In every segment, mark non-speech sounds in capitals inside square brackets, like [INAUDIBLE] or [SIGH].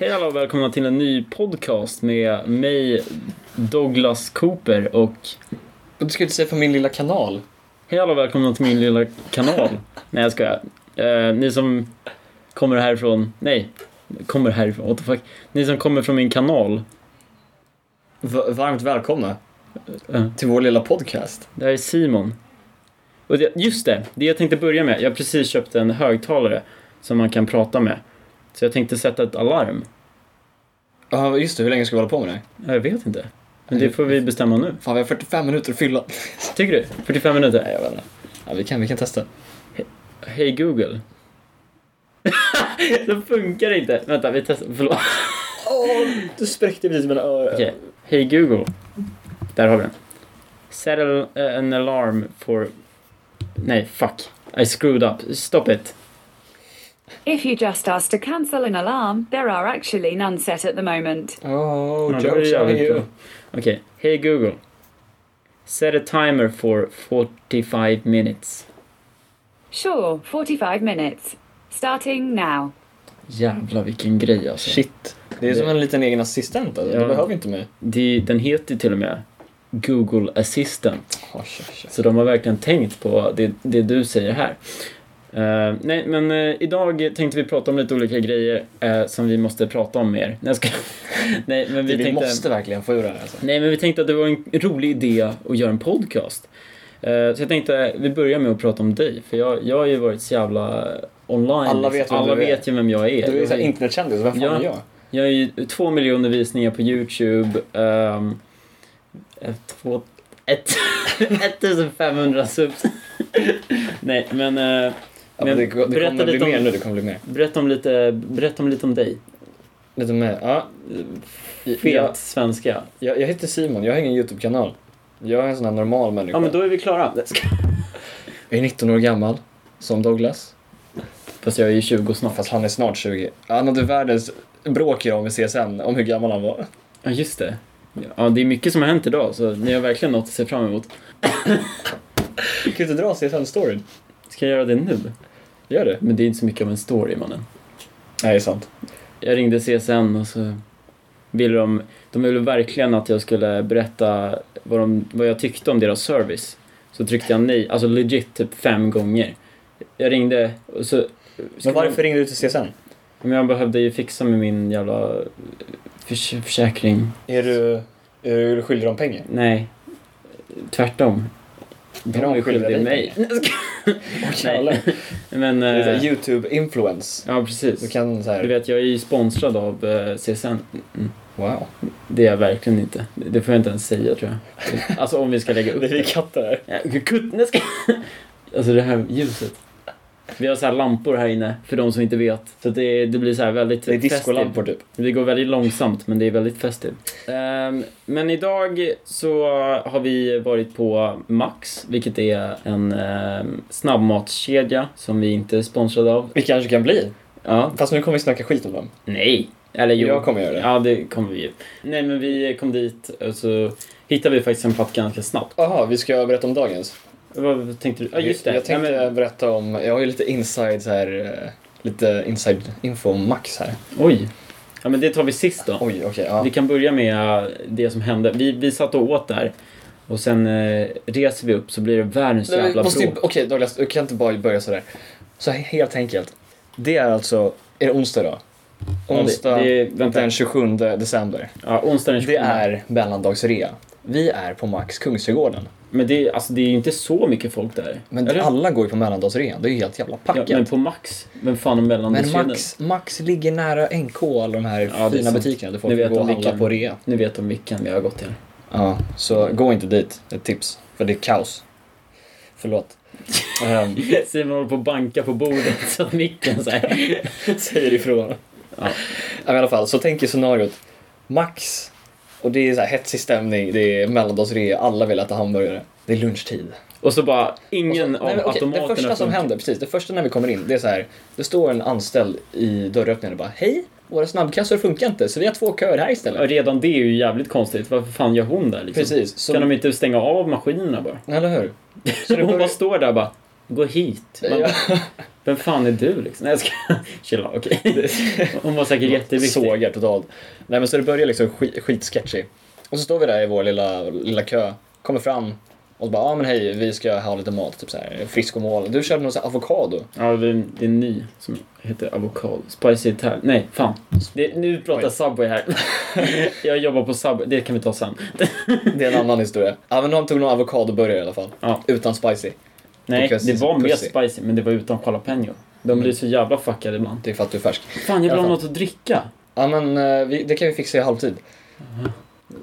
Hej alla och välkomna till en ny podcast med mig, Douglas Cooper och Och du skulle säga för min lilla kanal. hej alla och välkomna till min lilla kanal. Nej jag skojar. Eh, ni som kommer härifrån, nej, kommer härifrån, what the fuck. Ni som kommer från min kanal. V- varmt välkomna eh, till vår lilla podcast. det här är Simon. Och det, just det, det jag tänkte börja med. Jag har precis köpt en högtalare som man kan prata med. Så jag tänkte sätta ett alarm. Ja, just det. Hur länge ska vi hålla på med det? Ja, Jag vet inte. Men det får vi bestämma nu. Fan, vi har 45 minuter att fylla. [LAUGHS] Tycker du? 45 minuter? Nej, jag vet inte. Ja, vi kan, vi kan testa. Hej Google. [LAUGHS] det funkar inte. Vänta, vi testar. Förlåt. Åh, du spräckte precis mina öron. Okej. Hej Google. Där har vi den. Set al- eh, an alarm for... Nej, fuck. I screwed up. Stop it. If you just asked to cancel an alarm, there are actually none set at the moment. Oh, Ja, det var jokes on jävligt you. bra. Okej. Hej Google. Set a timer for 45 minutes. Sure, 45 minutes. Starting now. Jävlar vilken grej alltså. Shit. Det är som en liten egen assistent. Alltså. Ja. Det behöver inte mig. Det, den heter ju till och med Google Assistant. Oh, tja, tja. Så de har verkligen tänkt på det, det du säger här. Eh, nej, men eh, idag tänkte vi prata om lite olika grejer eh, som vi måste prata om mer. Nej, jag ska... [LAUGHS] nej, men vi, Vi, tänkte... måste verkligen få ur det här. Alltså. Nej, men vi tänkte att det var en rolig idé att göra en podcast. Eh, så jag tänkte vi börjar med att prata om dig, för jag, jag har ju varit så jävla online. liksom. Alla vet vem Alla du är. vet ju vem jag är. Du är ju jag, så här är internetkändis. Vem fan Ja. är jag? jag har ju två miljoner visningar på YouTube. ehm, ett, två, ett, [LAUGHS] 1500 subs. Nej, men... eh, Ja, Men men det det berätta kommer bli lite om- mer nu. Det kommer bli mer. Berätta om lite, berätta om lite om dig. Lite mer. Ja. Fet Ja. svenska. Jag, jag heter Simon. Jag har ingen YouTube-kanal. Jag är en sån här normal människa. Ja men då är vi klara. Jag är 19 år gammal, som Douglas. Fast jag är ju 20 snart. Fast han är snart 20. Han hade världens bråk idag med CSN om hur gammal han var. Ja just det. Ja det är mycket som har hänt idag så ni har verkligen något att se fram emot. Kan du inte dra CSN-storyn? Ska jag göra det nu? Gör det. Men det är inte så mycket av en story mannen. Nej, det är sant. Jag ringde CSN och så ville de, de ville verkligen att jag skulle berätta vad, de, vad jag tyckte om deras service. Så tryckte jag nej, alltså legit typ fem gånger. Jag ringde och så... Men varför ringde du till CSN? Men jag behövde ju fixa med min jävla eh, förs- försäkring. Är du, är du skyldig dem pengar? Nej, tvärtom. De Är de är ju skyldiga skyldiga dig mig. jävlar. Nej, men... Det är eh, så här YouTube-influence. Ja, Du precis. kan så Du här... vet, jag är ju sponsrad av eh, CSN. Wow. Det är jag verkligen inte. Det får jag inte ens säga, tror [LAUGHS] jag. Alltså om vi ska lägga upp Det är det. katter här. Ja, kutt- nej, ska- [LAUGHS] Alltså det här ljuset. Vi har så här lampor här inne, för de som inte vet. Så att det, det blir så här väldigt Det är festivt. discolampor typ. Det går väldigt långsamt, men det är väldigt festivt. Ehm, men idag så har vi varit på Max, vilket är en um, snabbmatskedja som vi inte är sponsrade av. Vi kanske kan bli. Ja, Fast nu kommer vi snacka skit om dem. nej. Eller jo. Jag kommer göra det. Ja, det kommer vi ju. Nej, men vi kom dit och så hittade vi faktiskt en plats ganska snabbt. Jaha, vi ska berätta om dagens. Vad tänkte du? Ja, just det. Jag tänkte Nej, men, berätta om... Jag har ju lite inside så här... eh, Lite inside info om Max här. oj. Ja, men det tar vi sist då. Oj, okej. ja. Vi kan börja med eh, det som hände. Vi, vi satt och åt där. Och sen eh, reser vi upp så blir det världens Nej, men jävla måste ju- bråk. Okej Douglas, du kan inte bara börja sådär. Så helt enkelt. Det är alltså, är det onsdag då? Ja, det- Onsdag det, vänta. den 27 december. Ja, onsdag den 27. Det är mellandagsrea. Vi är på Max Kungsträdgården. Men det, är- alltså, det är ju inte så mycket folk där. Men Eller? alla går ju på mellandagsrean, det är ju helt jävla ja, packat. men men på Max. Vem fan har mellandagskedjan? Max, Max ligger nära NK och alla de här Ja, det är fina sant. butikerna där Ni folk vet går och om vilka- handlar på rea. Nu vet de vilken vi har gått till. [LAUGHS] Ja, så gå inte dit, ett tips. För det är kaos. [LAUGHS] Förlåt. Ehm, Simon håller på att banka på bordet [LAUGHS] så att micken så här. säger ifrån. Ja. Ja. men I alla fall, så tänk er scenariot. Max, och det är så här hetsig stämning, det är mellandagsrea, alla vill äta hamburgare. Det är lunchtid. Och så bara, Och så- ingen nej, av men okej, automaterna... det första som funkar. händer, precis, det första när vi kommer in, det är så här. Det står en anställd i dörröppningen och bara Hej, våra snabbkassor funkar inte så vi har två köer här Ja, istället. Redan det är ju jävligt konstigt. Varför fan gör hon där liksom? Precis, så, Kan de inte stänga av maskinerna bara? eller hur? Så [LAUGHS] det Hon börjar- bara står där och bara, gå hit. Man, Ja. Vem fan är du liksom? Nej jag ska... [LAUGHS] Chilla, okej. Hon var säkert jätteviktig. Sågar totalt. Nej men så det börjar liksom skit, skitsketchy. Och så står vi där i vår lilla, lilla kö, kommer fram och så bara ja ah, men hej vi ska ha lite mat, typ så här friskomål. Du körde någon sån här avokado. Ja, det är, en, det är en ny som heter avokado. Spicy Italian. Nej, fan. Det, nu pratar Oj. Subway här. [LAUGHS] jag jobbar på Subway. Det kan vi ta sen. Det är en annan historia. Ja men någon tog någon avokadoburgare i alla fall. Ja. Utan spicy. Nej, Because det it's var med pussy. Mm. spicy men det var utan jalapeno. De blir så jävla fuckade ibland. Det är för att du är färsk. Fan, jag vill alla ha fall. något att dricka. Ja men eh, vi, det kan vi fixa i halvtid.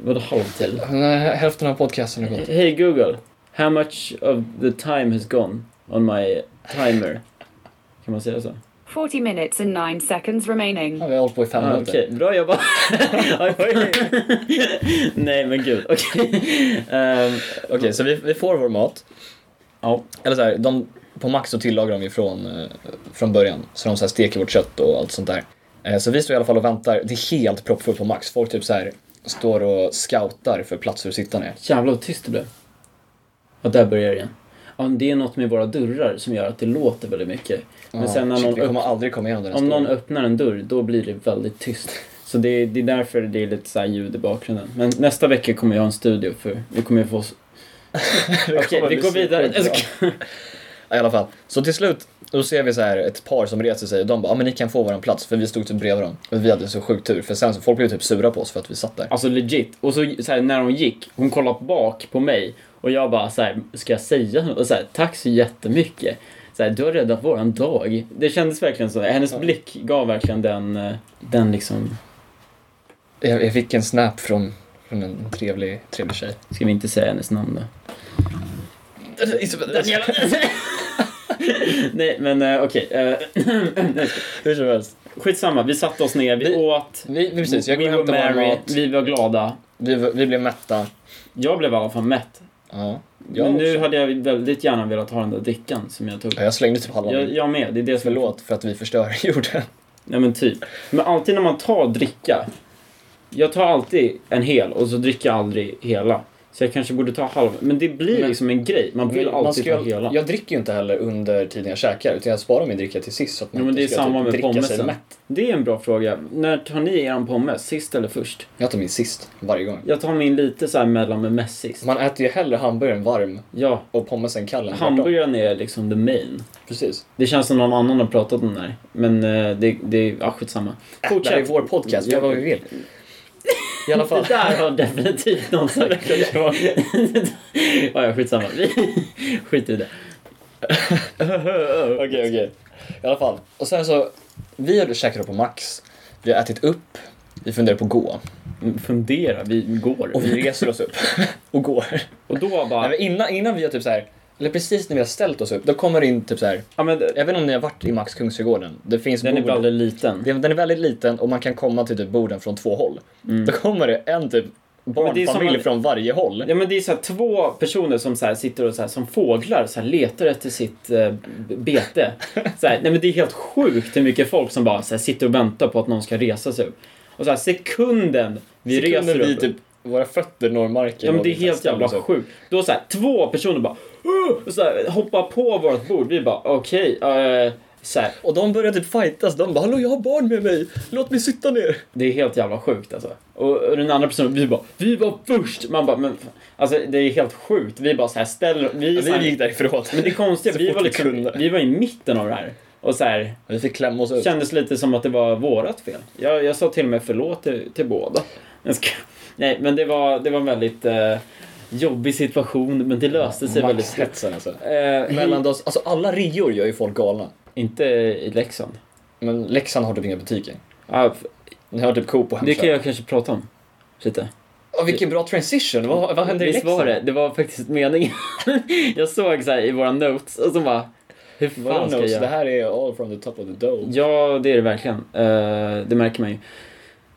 Vadå halvtid? Nej, Hälften av podcasten har gått. Hey Google, how much of the time has gone on my timer? Kan man säga så? 40 minutes and 9 seconds remaining. Ja, vi har hållit på i fem Ah, Okej, minuter. bra [LAUGHS] jobbat. Nej men gud, okej. Ehm, Okej, så vi, vi får vår mat. ja. Eller så här, de, på Max så tillagar de ju från, eh, från början. Så de så här steker vårt kött och allt sånt där. Eh, så vi står i alla fall och väntar. Det är helt proppfullt på Max. Folk typ så här står och scoutar för platser att sitta ner. Jävlar vad tyst det blev. Ja, där börjar jag igen. Ja, men det är något med våra dörrar som gör att det låter väldigt mycket. Men Ja, sen när shit, någon vi kommer aldrig komma igenom den här Om någon stolen. [LAUGHS] öppnar en dörr, då blir det väldigt tyst. Så det är, det är därför det är lite så här ljud i bakgrunden. Men nästa vecka kommer jag ha en studio för vi kommer ju få... Det Okej, kommer vi bli går vidare. superbra. Ja, I alla fall. Så till slut, då ser vi så här ett par som reser sig och de bara, ja men ni kan få våran plats för vi stod typ bredvid dem. Och vi hade så sjuk tur för sen så folk blev typ sura på oss för att vi satt där. Alltså legit. Och så, så här, när hon gick, hon kollade bak på mig och jag bara så här, ska jag säga något? Och så här, tack så jättemycket. Så här, du har räddat våran dag. Det kändes verkligen så. Hennes blick gav verkligen den, eh, den liksom, Jag, jag fick en snap från, från en trevlig, trevlig tjej. [LAUGHS] ska vi inte säga hennes namn då? Daniela! [LAUGHS] Nej men eh, okej. eh, Hur som helst. Skitsamma, vi satte oss ner, vi, Vi- åt. Vi, vi, precis, jag we går och were hämtar vår married, mat. vi var glada. Vi, vi blev mätta. Jag blev i alla fall mätt. Ja. Men nu också. hade jag väldigt gärna velat ha den där drickan som jag tog. Ja, jag slängde typ halva Jag, min. jag med, det är det som... Förlåt för att vi förstör [LAUGHS] jorden. Ja men typ. Men alltid när man tar dricka. Jag tar alltid en hel och så dricker jag aldrig hela. Så jag kanske borde ta halv. Men det blir Men- liksom en grej. Man vill Man alltid ska, ta hela. jag dricker ju inte heller under tiden jag käkar utan jag sparar min dricka till sist så att man Jo, men inte det är ska typ samma med dricka sig pommesen. mätt. Det är en bra fråga. När tar ni eran pommes? Sist eller först? Jag tar min sist varje gång. Jag tar min lite så här mellan med mest sist. Man äter ju hellre hamburgaren varm Ja, och pommesen kall än tvärtom. hamburgaren är liksom the main. Precis. Det känns som någon annan har pratat om det här. Men eh, det, det är, ja skitsamma. Äh, det här är vår podcast, vi gör vad vi vill. I alla fall. Det där har definitivt någon [LAUGHS] sagt. [LAUGHS] ja, ja, skitsamma. Vi [LAUGHS] skiter i det. Okej, okej. I alla fall. Och sen så, vi har käkat på Max, vi har ätit upp, vi funderar på att gå. Fundera, vi går. Och vi reser oss upp och går. [LAUGHS] Och då Nej, bara... men innan, innan vi har typ så här, eller precis när vi har ställt oss upp, då kommer det in typ så här. Ja, men, Jag vet inte om ni har varit i Max Kungsträdgården. Det finns den är bord. väldigt liten. Den- Den är väldigt liten och man kan komma till typ borden från två håll. Då kommer det en typ Mm. det är som barnfamilj att- från varje håll. Ja men det är så här, två personer som så här, sitter och så här, som fåglar så här, letar efter sitt eh, bete. Så här, nej men det är helt sjukt hur mycket folk som bara så här, sitter och väntar på att någon ska resa sig upp. Och så här, sekunden vi Sekunden reser vi upp. typ våra fötter når marken. Ja men och det är vi helt kastar jävla oss upp. sjukt. Då så här, två personer bara "Åh!" och så här, hoppar på vårt bord. Vi bara okej. eh, så här, Och de börjar typ fightas. De bara “Hallå, jag har barn med mig! Låt mig sitta ner!” det är helt jävla sjukt alltså. Och och den andra personen, vi bara vi var först. Man bara men fan." alltså det är helt sjukt. Vi bara så här ställer vi, så här, Vi gick därifrån. Men det konstiga, Så vi fort var, vi liksom, kunde. vi var i mitten av det här. Och så här, Vi fick klämma oss upp. kändes lite som att det var vårat fel. Jag, jag sa till och med förlåt till, till båda. Jag ska, nej, men det var, det var en väldigt eh, jobbig situation, men det löste sig väldigt snabbt. Maxhetsen alltså. Eh, Mellan Mellan... oss, alltså alla reor gör ju folk galna. Inte i Leksand. Men Leksand har typ inga butiker. Ja, f- Ni har typ Coop och det Hemköp. kan jag kanske prata om. Lite. Åh, vilken bra transition! Vad, vad händer i Visst Leksand? var det? Det var faktiskt meningen. [LAUGHS] jag såg så här i våra notes och så bara... Hur Vadå, fan ska jag Nose? göra? Det här är all from the top of the dome. Ja, det är det verkligen. Eh, det märker man ju.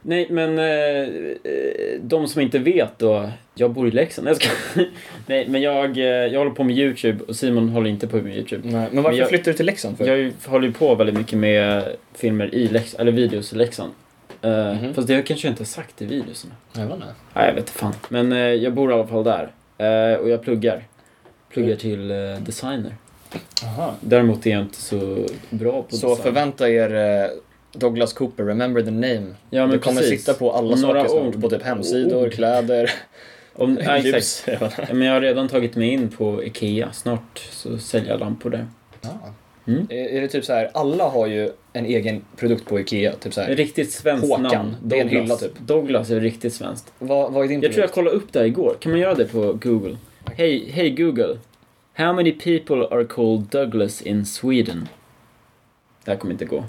Nej, men eh, eh, de som inte vet då. Jag bor i Leksand. Jag ska... [LAUGHS] Nej, men jag, eh, jag håller på med YouTube och Simon håller inte på med YouTube. Nej, men varför Men jag- flyttar du till Leksand för? Jag ju- håller ju på väldigt mycket med filmer i Leksand, eller videos i Leksand. Eh, Mhm. Fast det har jag kanske inte sagt i videoserna. Jag vet inte. Nej, jag vet inte fan. Mm. Men eh, jag bor i alla fall där. Eh, och jag pluggar. Pluggar till eh, designer. Aha. Däremot är jag inte så bra på Så förvänta er eh, Douglas Cooper, remember the name. Ja, men du kommer precis. sitta på alla Några saker snart, ord. på typ hemsidor, Ord. kläder, [LAUGHS] Om, ja, exakt. ljus. Ja. Ja, Men jag har redan tagit mig in på IKEA. Snart så säljer jag lampor där. Mm. Är, är det typ så här, alla har ju en egen produkt på Ikea. Typ så Ett här. Riktigt svenskt Håkan, namn. det är en hylla Douglas. typ. Douglas är riktigt svenskt. Vad, vad är din Jag tror jag produkt? kollade upp det här igår. Kan man göra det på Google? Hej hey Google. How many people are called Douglas in Sweden? Det här kommer inte gå.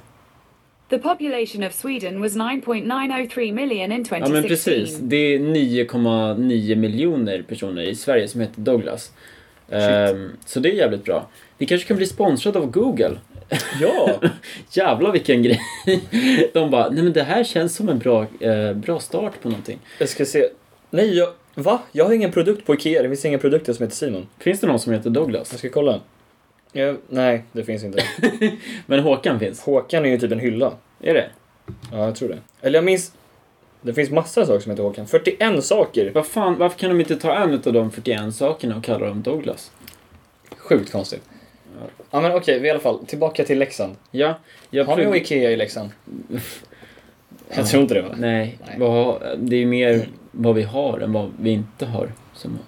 The population of Sweden was 9.903 million in Ja men precis. 2016. Det är 9,9 miljoner personer i Sverige som heter Douglas. Ehm, så det är jävligt bra. Vi kanske kan bli sponsrade av Google. Ja! Jävlar vilken [LAUGHS] grej. De bara, nej men det här känns som en bra, eh, bra start på någonting. [LAUGHS] Jag ska se. Nej, jag, va? Jag har ingen produkt på Ikea. Det finns inga produkter som heter Simon. Finns det någon som heter Douglas? Jag ska kolla. Jag, nej, det [LAUGHS] finns inte. Men Håkan finns. Håkan är ju typ en hylla. Är det? Ja, jag tror det. Eller jag minns... Det finns massa saker som heter Håkan. 41 saker! Vad fan, varför kan de inte ta en av de 41 sakerna och kalla dem Douglas? Sjukt konstigt. Ja. Ja men okej, vi i alla fall tillbaka till Leksand. Ja, jag Har ni prov- nog Ikea [LAUGHS] i Leksand? Jag tror inte det va? Nej, Nej. Vad, det är ju mer vad vi har än vad vi inte har. Som,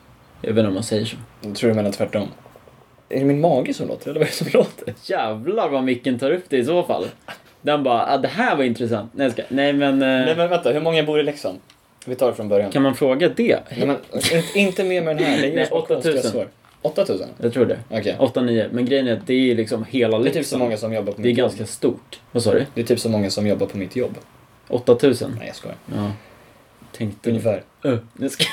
jag vet inte om man säger så. Jag tror du menar tvärtom. Är det min mage som låter eller vad är det som Eh. låter? Jävlar vad micken tar upp det i så fall. Den bara, ah, det här var intressant. Nej, jag ska, nej men, eh, Nej men vänta, hur många bor i Leksand? Vi tar det från början. kan man fråga det? Nej, men, inte, inte mer med den här, det ger Nej, oss bara konstiga 8000. svar. 8000? Jag tror det. Okej. 8-9, men grejen är att det är liksom hela Det är typ så Leksand. många som jobbar på Det är mitt ganska jobb. stort. Vad sa du? Det är typ så många som jobbar på mitt jobb. 8000? Nej jag skojar. Ja. Tänkte Ungefär. Ö, [LAUGHS] nu ska...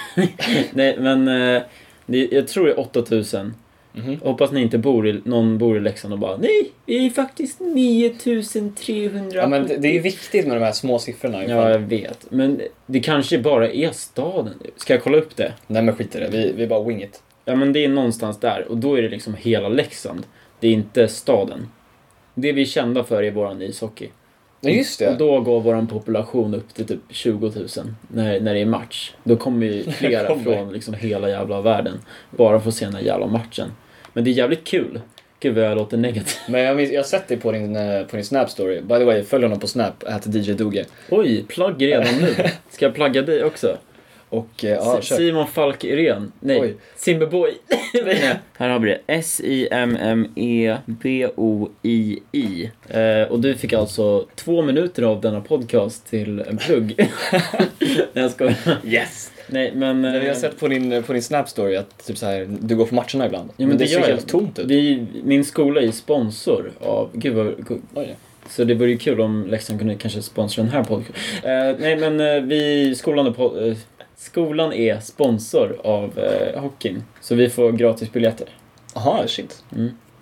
Nej, men eh, det, jag tror det är 8000. Mhm. Hoppas ni inte bor i, någon bor i Leksand och bara nej, vi är faktiskt 9300. Ja men det, det är ju viktigt med de här små siffrorna. Ja, Ja. jag vet. Men det kanske bara är staden. Ska jag kolla upp det? Nej men skit i det, vi, vi bara wing it. Ja, men det är någonstans där och då är det liksom hela Leksand. Det är inte staden. Det vi är kända för är våran ishockey. Ja just det. Mm. Och då går våran population upp till typ 20 000 när, när det är match. Då kommer [LAUGHS] ju flera Kommer. från liksom hela jävla världen bara för att se den här jävla matchen. Men det är jävligt kul. Gud vad jag låter [LAUGHS] negativ. Men jag, minns, jag har sett dig på din, eh, på din Snap-story. By the way, följ honom på Snap, att DJ Doge. Oj, plagg redan nu. Ska jag plagga dig också? Och eh, ja, Si- kör. Simon Falk Irén. Nej, Oj. Simmerboy. [LAUGHS] Här har vi det. E S-I-M-M-E-B-O-I-I. Eh, och du fick alltså två minuter av denna podcast till en plugg. [LAUGHS] Nej, jag skojar. Yes! Nej, men... eh, Jag har sett på din, på din Snap-story att typ så här, du går på matcherna ibland. men men det, det ser gör jag. helt tomt ut. Vi, min skola är ju sponsor av... Gud vad... Oj. Så det vore ju kul om Leksand kunde kanske sponsra den här podcasten. Eh, nej men eh, vi... Skolan är, po- eh, skolan är sponsor av eh, hockeyn. Så vi får gratis biljetter. Mm. Aha, shit.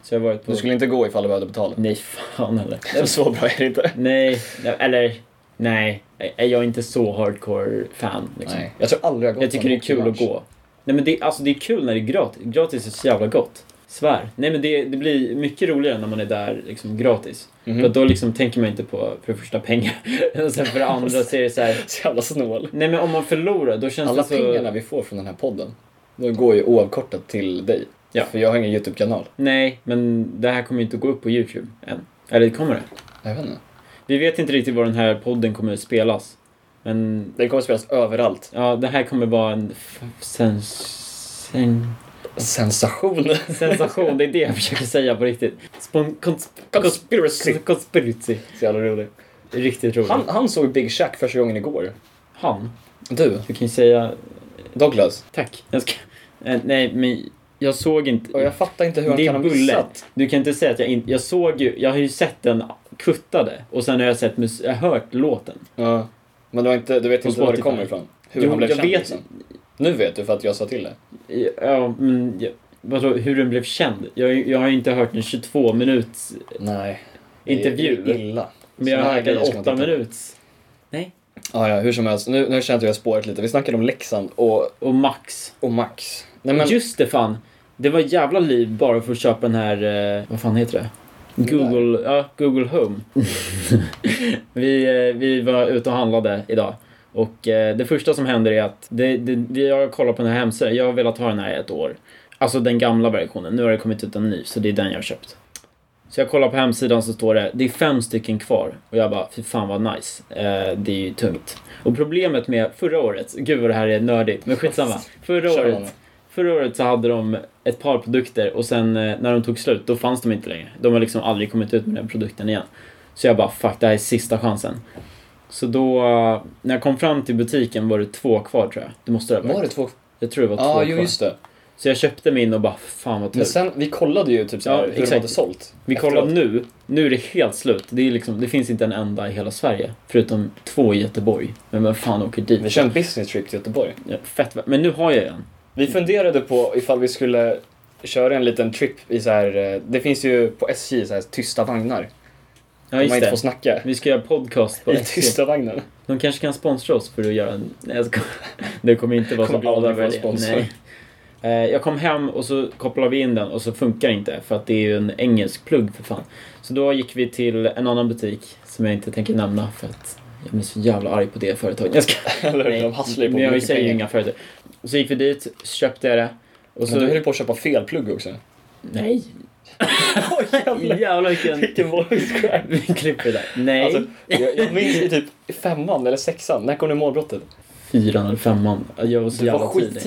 Så jag har varit på... Du skulle inte gå ifall du behövde betala. Nej fan eller. [LAUGHS] Så bra är det inte. nej, nej, eller... Nej, jag är inte så hardcore fan liksom. Nej, jag tror aldrig jag har gått Jag tycker det är på en kul att hockeymatch. gå. Nej men det, alltså, det är kul när det är gratis. Gratis är så jävla gott. Svär. Nej men det, det blir mycket roligare när man är där liksom gratis. Mhm. För att då liksom tänker man inte på för det första pengar. [LAUGHS] Och sen för det andra så är det så här. [LAUGHS] Så jävla snål. Nej men om man förlorar då känns Alla det så... pengarna vi får från den här podden, de går ju oavkortat till dig. Ja. För jag har ingen YouTube-kanal. Nej, men det här kommer ju inte gå upp på YouTube än. Eller kommer det? Jag vet inte. Vi vet inte riktigt var den här podden kommer att spelas. Men Den kommer spelas överallt. Ja, det här kommer vara en f- sens- sen- Sensation! sensation. Det är det jag försöker säga på riktigt. Spon- kons- kons- [LAUGHS] Conspiracy! kons- Konspiracy. Så jävla rolig. Riktigt roligt. Han, han såg Big Shack första gången igår. Han. Du, Du kan ju säga Douglas. tack. Jag ska... Eh, Nej, men jag såg Och inte. jag fattar inte hur han Det kan är ha missat. Bullet. Du kan inte säga att jag inte... Jag såg ju... Jag har ju sett den kuttade och sen har jag sett mus- jag har hört låten. Ja. Men du, har inte, du vet På inte var det Spotify. kommer ifrån? Hur Jo, han blev jag känd vet- liksom. Nu vet du för att jag sa till dig. Ja, men... Jag... Vadå, hur den blev känd? Jag, jag har ju inte hört en 22 minuts Nej. intervju. Det är illa. Men jag Såna har här hört grejer ska en man 8 titta på. minuts. Nej. Ja, ja, hur som helst. Nu, nu känner jag att vi har spårat lite. Vi snackade om Leksand och, Och Max. och Max. Nej men, Just det fan. Det var jävla liv bara för att köpa den här, eh, vad fan heter det? Google, ja, Google [LAUGHS] Home. vi, eh, vi var ute och handlade idag. Och eh, det första som händer är att, det, det, det, jag kollar på den här hemsidan, jag har velat ha den här i ett år. Alltså den gamla versionen. Nu har det kommit ut en ny, så det är den jag har köpt. Så jag kollar på hemsidan så står det, det är fem stycken kvar. Och jag bara, fy fan vad nice. Eh, det är ju tungt. Och problemet med förra året, gud vad det här är nördigt, men skitsamma. Förra Kör året, honom. förra året så hade de ett par produkter och sen eh, när de tog slut, då fanns de inte längre. De har liksom aldrig kommit ut med den produkten igen. Så jag bara, fuck, det här är sista chansen. Så då, eh, när jag kom fram till butiken var det två kvar tror jag. Det måste det ha Var varit. det två? Jag tror det var Ja, två kvar. jo just det. Så jag köpte min och bara, fan vad tur. Men sen, vi kollade ju typ så här, Ja, hur de exakt. hade sålt. Vi kollar nu, nu är det helt slut. Det, är liksom, det finns inte en enda i hela Sverige, förutom två i Göteborg. Men vem fan åker dit? Vi kör en business trip till Göteborg. Ja, Fett, vä- men nu har jag en. Vi funderade på ifall vi skulle köra en liten trip i så här. eh, Det finns ju på SJ så här tysta vagnar. Ja, man just inte får det. snacka. Vi ska göra [LAUGHS] podcast på I SJ. tysta vagnen. De kanske kan sponsra oss för att göra en... Nej, jag skojar. Det kommer inte vara så Kommer glada aldrig få över en det. sponsor. Nej. Eh, Jag kom hem och så kopplade vi in den och så funkar det inte för att det är ju en engelsk plugg för fan. Så då gick vi till en annan butik som jag inte tänker nämna för att jag blir så jävla arg på det företaget. Jag ska... Eller hur? Nej, De hasslar ju på men jag mycket säger ju pengar. inga företag. Och så gick vi dit, köpte jag det. Och Men så... du höll ju på att köpa fel plugg [LAUGHS] också. Nej! Oj jävlar! [LAUGHS] Jävlar [LAUGHS] vilken... Vilken voice crack. Vi klipper det där. Nej. Alltså, jag, jag minns ju typ i femman eller sexan, när kom det målbrottet? Fyran eller femman. Jag var så Du jävla var skittidig.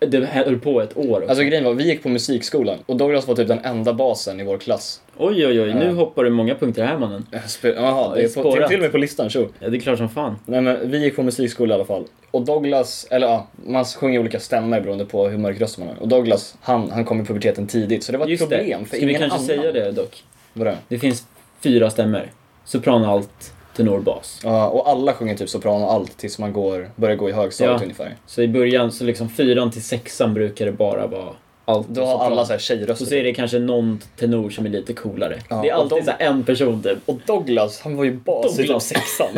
tidig. Det höll på ett år också. Alltså grejen var, vi gick på musikskolan och Douglas var typ den enda basen i vår klass. Oj, oj, oj. Nu Ja. hoppar du många punkter här mannen. Jag spe- Jaha, det är på, till, Spårat. till och med på listan, tjo. Ja, det är klart som fan. Nej men vi gick på musikskola i alla fall. Och Douglas, eller ja, man sjunger olika stämmor beroende på hur mörk röst man har. Och Douglas, han, han kom i puberteten tidigt så det var ett Just problem det. för Ska vi ingen kanske annan. säga det dock? Vadå? Det finns fyra stämmor. Sopran, alt, tenor, bas. Ja, och alla sjunger typ sopran och allt tills man går, börjar gå i högstadiet Ja. ungefär. Så i början, så liksom fyran till sexan brukar det bara vara alt och Då har sopran. alla så här Och tjejröster. så är det kanske någon tenor som är lite coolare. Ja, det är och alltid de- så här en person typ. Och Douglas, han var ju bas i typ Douglas. [LAUGHS] sexan.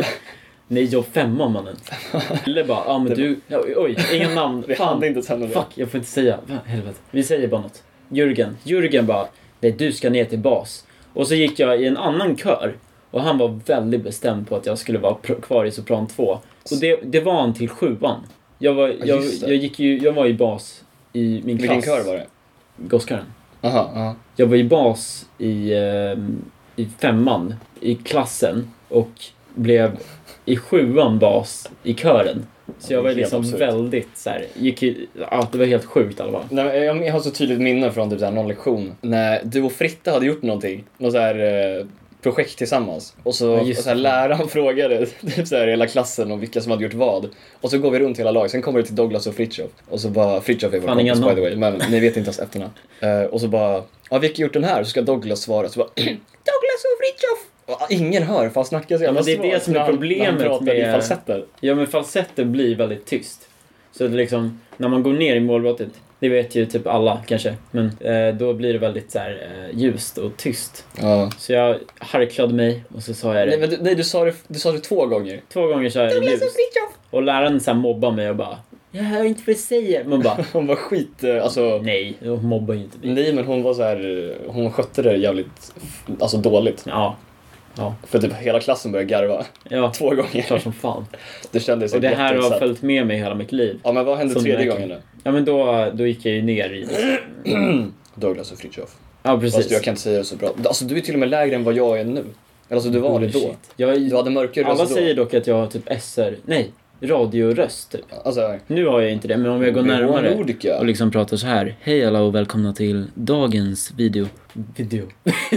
Nej, jag femman [LAUGHS] mannen. Eller bara, ja ah, men du, ja, oj, inga namn. Vi hann Fan, inte tända det. fuck, jag får inte säga. Va, helvete. Vi säger bara något. Jürgen, Jürgen bara, nej du ska ner till bas. Och så gick jag i en annan kör. Och han var väldigt bestämd på att jag skulle vara pr- kvar i sopran 2. Och det, det var han till sjuan. Jag var, jag, just det. jag gick ju, jag var i bas i min klass. Vilken kör var det? Gosskören. Aha, aha. Jag var i bas i, ehm, i femman i klassen och blev i sjuan bas i kören. Så jag Det är var helt liksom absurt. väldigt så här, gick i, ja, det var helt sjukt i alla fall. Nej, men jag- jag har så tydligt minne från typ så här någon lektion när du och Fritte hade gjort någonting, något så här eh, projekt tillsammans. Och så, Ja, och just så här, det. läraren [LAUGHS] frågade typ så här, hela klassen om vilka som hade gjort vad. Och så går vi runt hela laget, sen kommer det till Douglas och Fritiof. Och så bara, Fritiof är vår Fan, inga kompis by namn. the way, men ni vet inte ens efternamn. Eh, och så bara, ja vilka har gjort den här? Så ska Douglas svara, så bara, [CLEARS THROAT] Douglas och Fritiof! Och, ah, ingen hör för han snackar så Ja, jävla men det är det svagt som är när han- när problemet han pratar i med- falsetter. Ja men falsettet blir väldigt tyst. Så att liksom, när man går ner i målbrottet, det vet ju typ alla kanske, men eh, då blir det väldigt så här, eh, ljust och tyst. Ja. Så jag harklade mig och så sa jag det. Nej, men du, nej du, sa det, du sa det två gånger. Två gånger sa jag det ljust. Och läraren så här mobbar mig och bara Jag hör inte vad du säger. Man [LAUGHS] bara Hon var skit, eh, alltså. Nej, hon mobbar ju inte mig. Nej, men hon var så här, hon skötte det jävligt alltså dåligt. Ja, För typ hela klassen började garva. [LAUGHS] ja. Två Klart gånger. som fan. Det kändes Och det här har jätteutsatt. följt med mig hela mitt liv. Ja, men vad hände som tredje märker. gången då? Ja men då, då gick jag ju ner i... Douglas och Fritiof. Ja Fast jag precis. kan inte säga det så bra. Alltså du är till och med lägre än vad jag är nu. Eller alltså du var det då. Bullshit. Jag, Du hade mörkare alla röst då. säger dock att jag har typ SR... Nej, radioröst typ. Alltså, Nu har jag inte det, men om jag går Närmare. närmare Nordica. och liksom pratar så här. Hej alla och välkomna till dagens video. Video.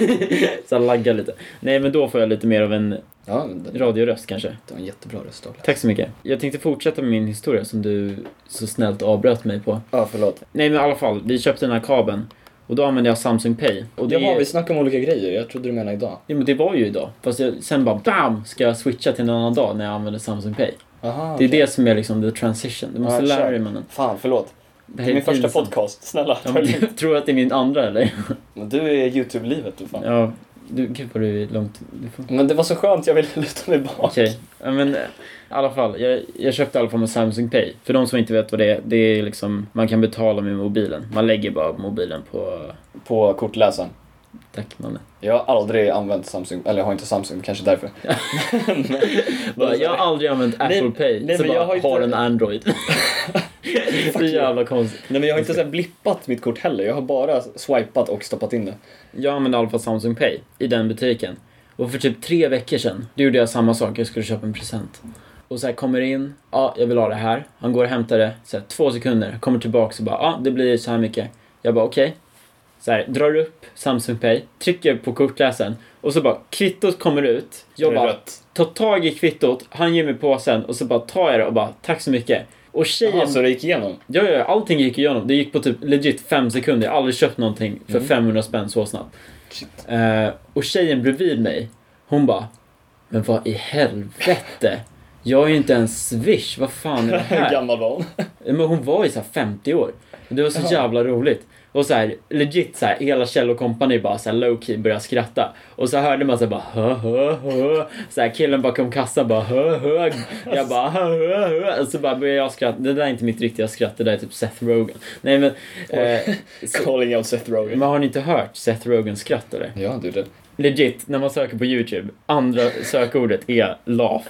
[LAUGHS] så jag laggar lite. Nej men då får jag lite mer av en Ja, men det radioröst kanske. det var en jättebra röst Douglas. Tack så mycket. Jag tänkte fortsätta med min historia som du så snällt avbröt mig på. Ja, förlåt. Nej men i alla fall, vi köpte den här kabeln och då använde jag Samsung Pay. Och det, Jaha, vi snackar om olika grejer. Jag trodde du menade idag. ja, men det var ju idag. Fast jag, sen bara BAM! Ska jag switcha till en annan dag när jag använder Samsung Pay. Aha, Det är okej. det som är liksom the transition. Du måste Ja, lära kör. dig mannen. Fan, förlåt. Det Det är min första pinsamt. podcast. Snälla, Ja, ta men det du, lugnt. tror att det är min andra eller? Men Du är YouTube-livet du fan. Ja, du, gud vad du är långt... Du får... Men det var så skönt, jag ville [LAUGHS] luta mig bak. Okej, ja, men eh, i alla fall. Jag, jag köpte i alla fall med Samsung Pay. För de som inte vet vad det är, det är liksom, man kan betala med mobilen. Man lägger bara mobilen på... På kortläsaren. Tack mannen. Jag har aldrig använt Samsung, eller jag har inte Samsung, kanske därför. [LAUGHS] Bara, jag har aldrig använt Apple Nej, Pay, nej, så men bara, jag har har, inte- en Android. [LAUGHS] Så jävla konstigt. Nej men jag har inte så här blippat mitt kort heller. Jag har bara swipat och stoppat in det. Jag använde i alla fall Samsung Pay i den butiken. Och för typ tre veckor sedan, då gjorde jag samma sak. Jag skulle köpa en present. Och så här kommer in, ja, jag vill ha det här. Han går och hämtar det, så här, två sekunder. Kommer tillbaks och bara, ja, det blir så här mycket. Jag bara, okej. Så här, drar upp Samsung Pay, trycker på kortläsaren. Och så bara, kvittot kommer ut. Jag Det är bara, rött. tar tag i kvittot, han ger mig påsen och så bara tar jag det och bara, tack så mycket. Och tjejen Jaha, så det gick igenom? Ja, ja, allting gick igenom. Det gick på typ legit fem sekunder. Jag har aldrig köpt någonting för 500 spänn så snabbt. Shit. Eh, och tjejen bredvid mig, hon bara Men vad i helvete? Jag har ju inte ens swish, vad fan [LAUGHS] är det Hur här? gammal [LAUGHS] var hon? Men hon var ju såhär 50 år. Det var så jävla roligt. Och så här, legit så här, hela Kjell och kompani bara så här low key började skratta. Och så hörde man så här bara hö hö hö. Så här killen bakom kassan bara hö hö. Jag bara hö hö hö. Och så bara började jag skratta. Det där är inte mitt riktiga skratt, det där är typ Seth Rogen. Nej men, eh, så, Calling out Seth Rogen. men har ni inte hört Seth Rogans skratt eller? Ja, du det. Legit, när man söker på YouTube, andra sökordet är laugh.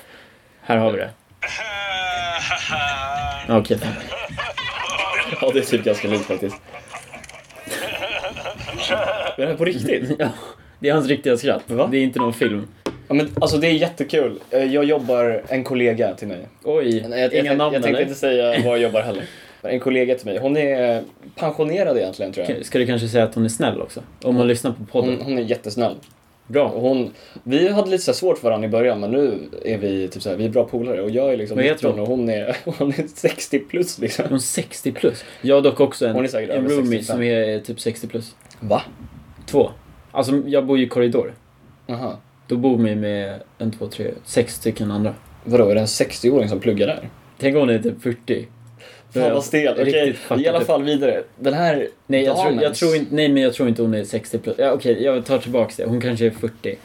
Här har vi det. Okej. Ja, det är typ ganska likt faktiskt. Men är på riktigt? Ja, det är hans riktiga skratt. Va? Det är inte någon film. Ja, men alltså det är jättekul. Eh, Jag jobbar, en kollega till mig. Oj, Nej, jag, inga jag, namn jag tänkte eller? inte säga var jag jobbar heller. Men En kollega till mig, hon är pensionerad egentligen tror jag. Ska du kanske säga att hon är snäll också? Om Mm. man lyssnar på podden. Hon, hon är jättesnäll. Och Bra. hon, vi hade lite så här svårt för varandra i början men nu är vi typ så här, vi är bra polare och jag är liksom Vad heter 19 och hon är, [LAUGHS] hon är 60 plus liksom. Hon är 60 plus. Jag har dock också en, Hon är säkert en över roomie 65. som är eh, typ 60 plus. Va? Två. Alltså, jag bor ju i korridor. Aha. Då bor vi med en, två, tre, sex stycken andra. Vadå, är det en 60-åring som pluggar där? Tänk om hon är typ 40. Då är Fan jag vad stel, riktigt okej. fucked I alla up. fall vidare. Den här Nej, jag tror, damen- jag tror inte, nej, men jag tror inte hon är 60 plus. Ja, Okej, jag tar tillbaka det. Hon kanske är 40. Vi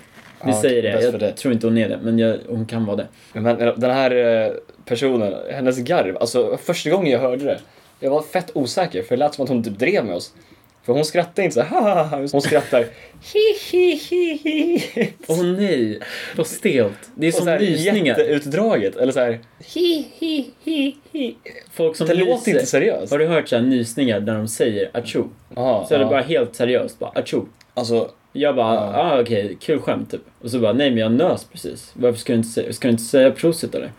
Ja, säger det. bäst för Jag dig. tror inte hon är det, men jag, hon kan vara det. Men den här eh, personen, hennes garv, alltså första gången jag hörde det, jag var fett osäker för det lät som att hon typ drev med oss. För hon skrattar inte så här, "Ha, ha, ha", hon skrattar hi hi hi hi. hi." Åh nej, vad stelt. Det är Och så som här nysningar. jätteutdraget, eller så här hi hi hi hi. Folk som Det nyser. låter inte seriöst. Har du hört såhär nysningar där de säger atjo? Ja, Så är det ja. bara helt seriöst, bara atjo. Alltså, Jag bara, ah okej, kul skämt typ. Och så bara, nej men jag nös precis. Varför ska du inte säga, ska du inte säga prosit eller?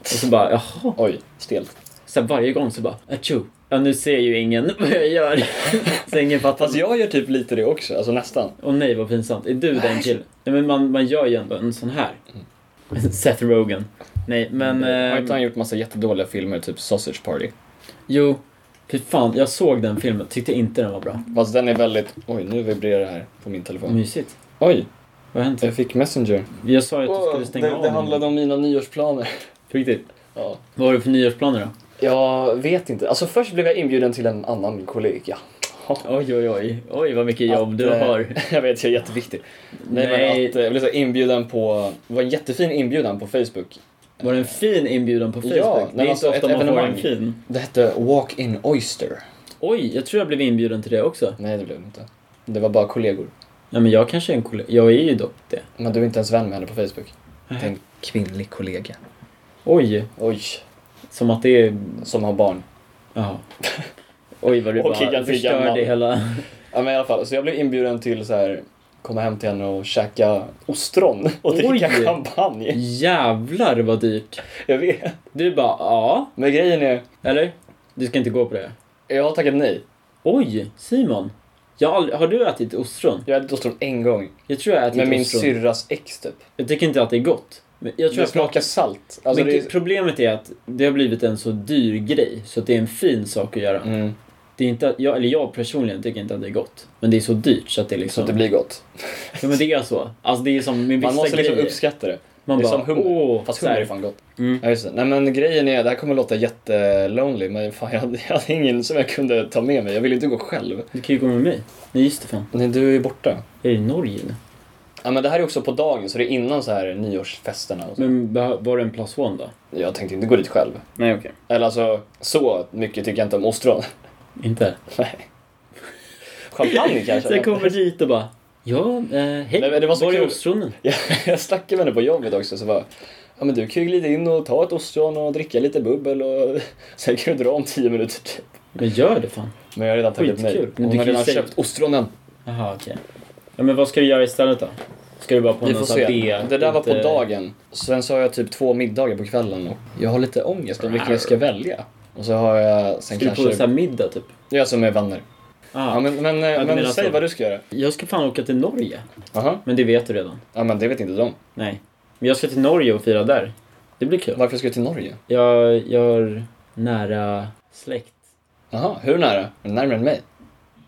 Och så bara, jaha. oj, stelt. Så här, varje gång så bara, atjo. Ja nu ser ju ingen [LAUGHS] vad jag gör. så ingen fattar. Fast jag gör typ lite det också, alltså nästan. Åh nej vad pinsamt. Är du den killen? Nej men man, man gör ju ändå en sån här. [LAUGHS] Mm. Seth Rogen. Nej men... Har ehm, inte han gjort massa jättedåliga filmer, typ Sausage Party? jo. Fy fan, jag såg den filmen. Tyckte inte den var bra. Fast den är väldigt, oj nu vibrerar det här på min telefon. Mysigt. Oj, Vad har hänt? jag fick Messenger. Jag sa ju att du Åh, skulle stänga av det den. handlade om mina nyårsplaner. På riktigt? Ja. Vad har du för nyårsplaner då? Jag vet inte. Alltså först blev jag inbjuden till en annan kollega. Oj, oj, oj. Oj, vad mycket jobb Att, du eh, har. [LAUGHS] jag vet, jag är jätteviktig. Nej, Nej. men att eh, jag blev så här inbjuden på, det var en jättefin inbjudan på Facebook. Var det en fin inbjudan på Facebook? Ja, nej, det är alltså, inte ett ofta man får en evenemang. fin. Det hette Walk In Oyster. Oj, jag tror jag blev inbjuden till det också. Nej, det blev det inte. Det var bara kollegor. Nej, men jag kanske är en kollega. Jag är ju dock det. Men du är inte ens vän med henne på Facebook. Det Nej. är en kvinnlig kollega. Oj, Oj, som att det är... som har barn. [LAUGHS] Ja. Oj, vad du Okej, bara ganska förstörde gammal. hela... [LAUGHS] Ja, men i alla fall. Så jag blev inbjuden till så här komma hem till henne och käka ostron och Oj. dricka champagne. Jävlar vad dyrt. Jag vet. Du bara, ja. Men grejen är, Eller? Du ska inte gå på det. jag har tackat nej. Oj, Simon. Jag har, aldrig- har du ätit ostron? Jag hade ostron en gång. Jag tror jag har ätit Med min ostron. syrras ex typ. Jag tycker inte att det är gott. Men jag tror Det jag smakar salt. Alltså, men det är... problemet är att det har blivit en så dyr grej så att det är en fin sak att göra. mm, Det är inte, att- jag, eller jag personligen tycker inte att det är gott. Men det är så dyrt så att det är så liksom... att det blir gott. ja, men det är så. Alltså det är som med vissa Man måste liksom grejer. uppskatta det. man det är bara, som hummer. åh. Fast så här. hummer är fan gott. Mm. Ja, just det. Nej men grejen är, det här kommer låta jättelonely men fan jag hade, [LAUGHS] jag hade ingen som jag kunde ta med mig. Jag ville inte gå själv. Du kan ju gå med mig. Nej just det fan. Nej du är ju borta. Jag är i Norge nu. Ja men det här är också på dagen så det är innan så här nyårsfesterna och så. Men beh- var det en plus one då? Jag tänkte inte gå dit själv. Nej okej. Eller alltså, så mycket tycker jag inte om ostron. [LAUGHS] Inte? Nej. Champagne kanske? Så jag kommer dit och bara, ja, eh, hej. Nej, men det var så var är kul. ostronen? [LAUGHS] Jag, jag snackade med henne på jobbet också, så bara, ja men du kan ju glida in och ta ett ostron och dricka lite bubbel och [LAUGHS] sen kan du dra om tio minuter typ. Men gör det fan. Men jag har redan tackat nej. Skitkul. Men Hon du har kan ju redan säga- köpt ostronen. Jaha, okej. Ja, men vad ska du göra istället då? Ska du bara på Vi någon får sån här se. B? Det där var på lite- dagen. Sen så har jag typ två middagar på kvällen och jag har lite ångest om vilken jag ska välja. Och så har jag sen Ska du på kanske... så här middag typ? Ja, som är vänner. Ah. Ja, men men, du men menar säg så. vad du ska göra. Jag ska fan åka till Norge. Aha. Men det vet du redan. Ja, men det vet inte de. Nej. Men jag ska till Norge och fira där. Det blir kul. Varför ska du till Norge? Jag gör nära släkt. Aha, hur nära? Är det Närmare än mig?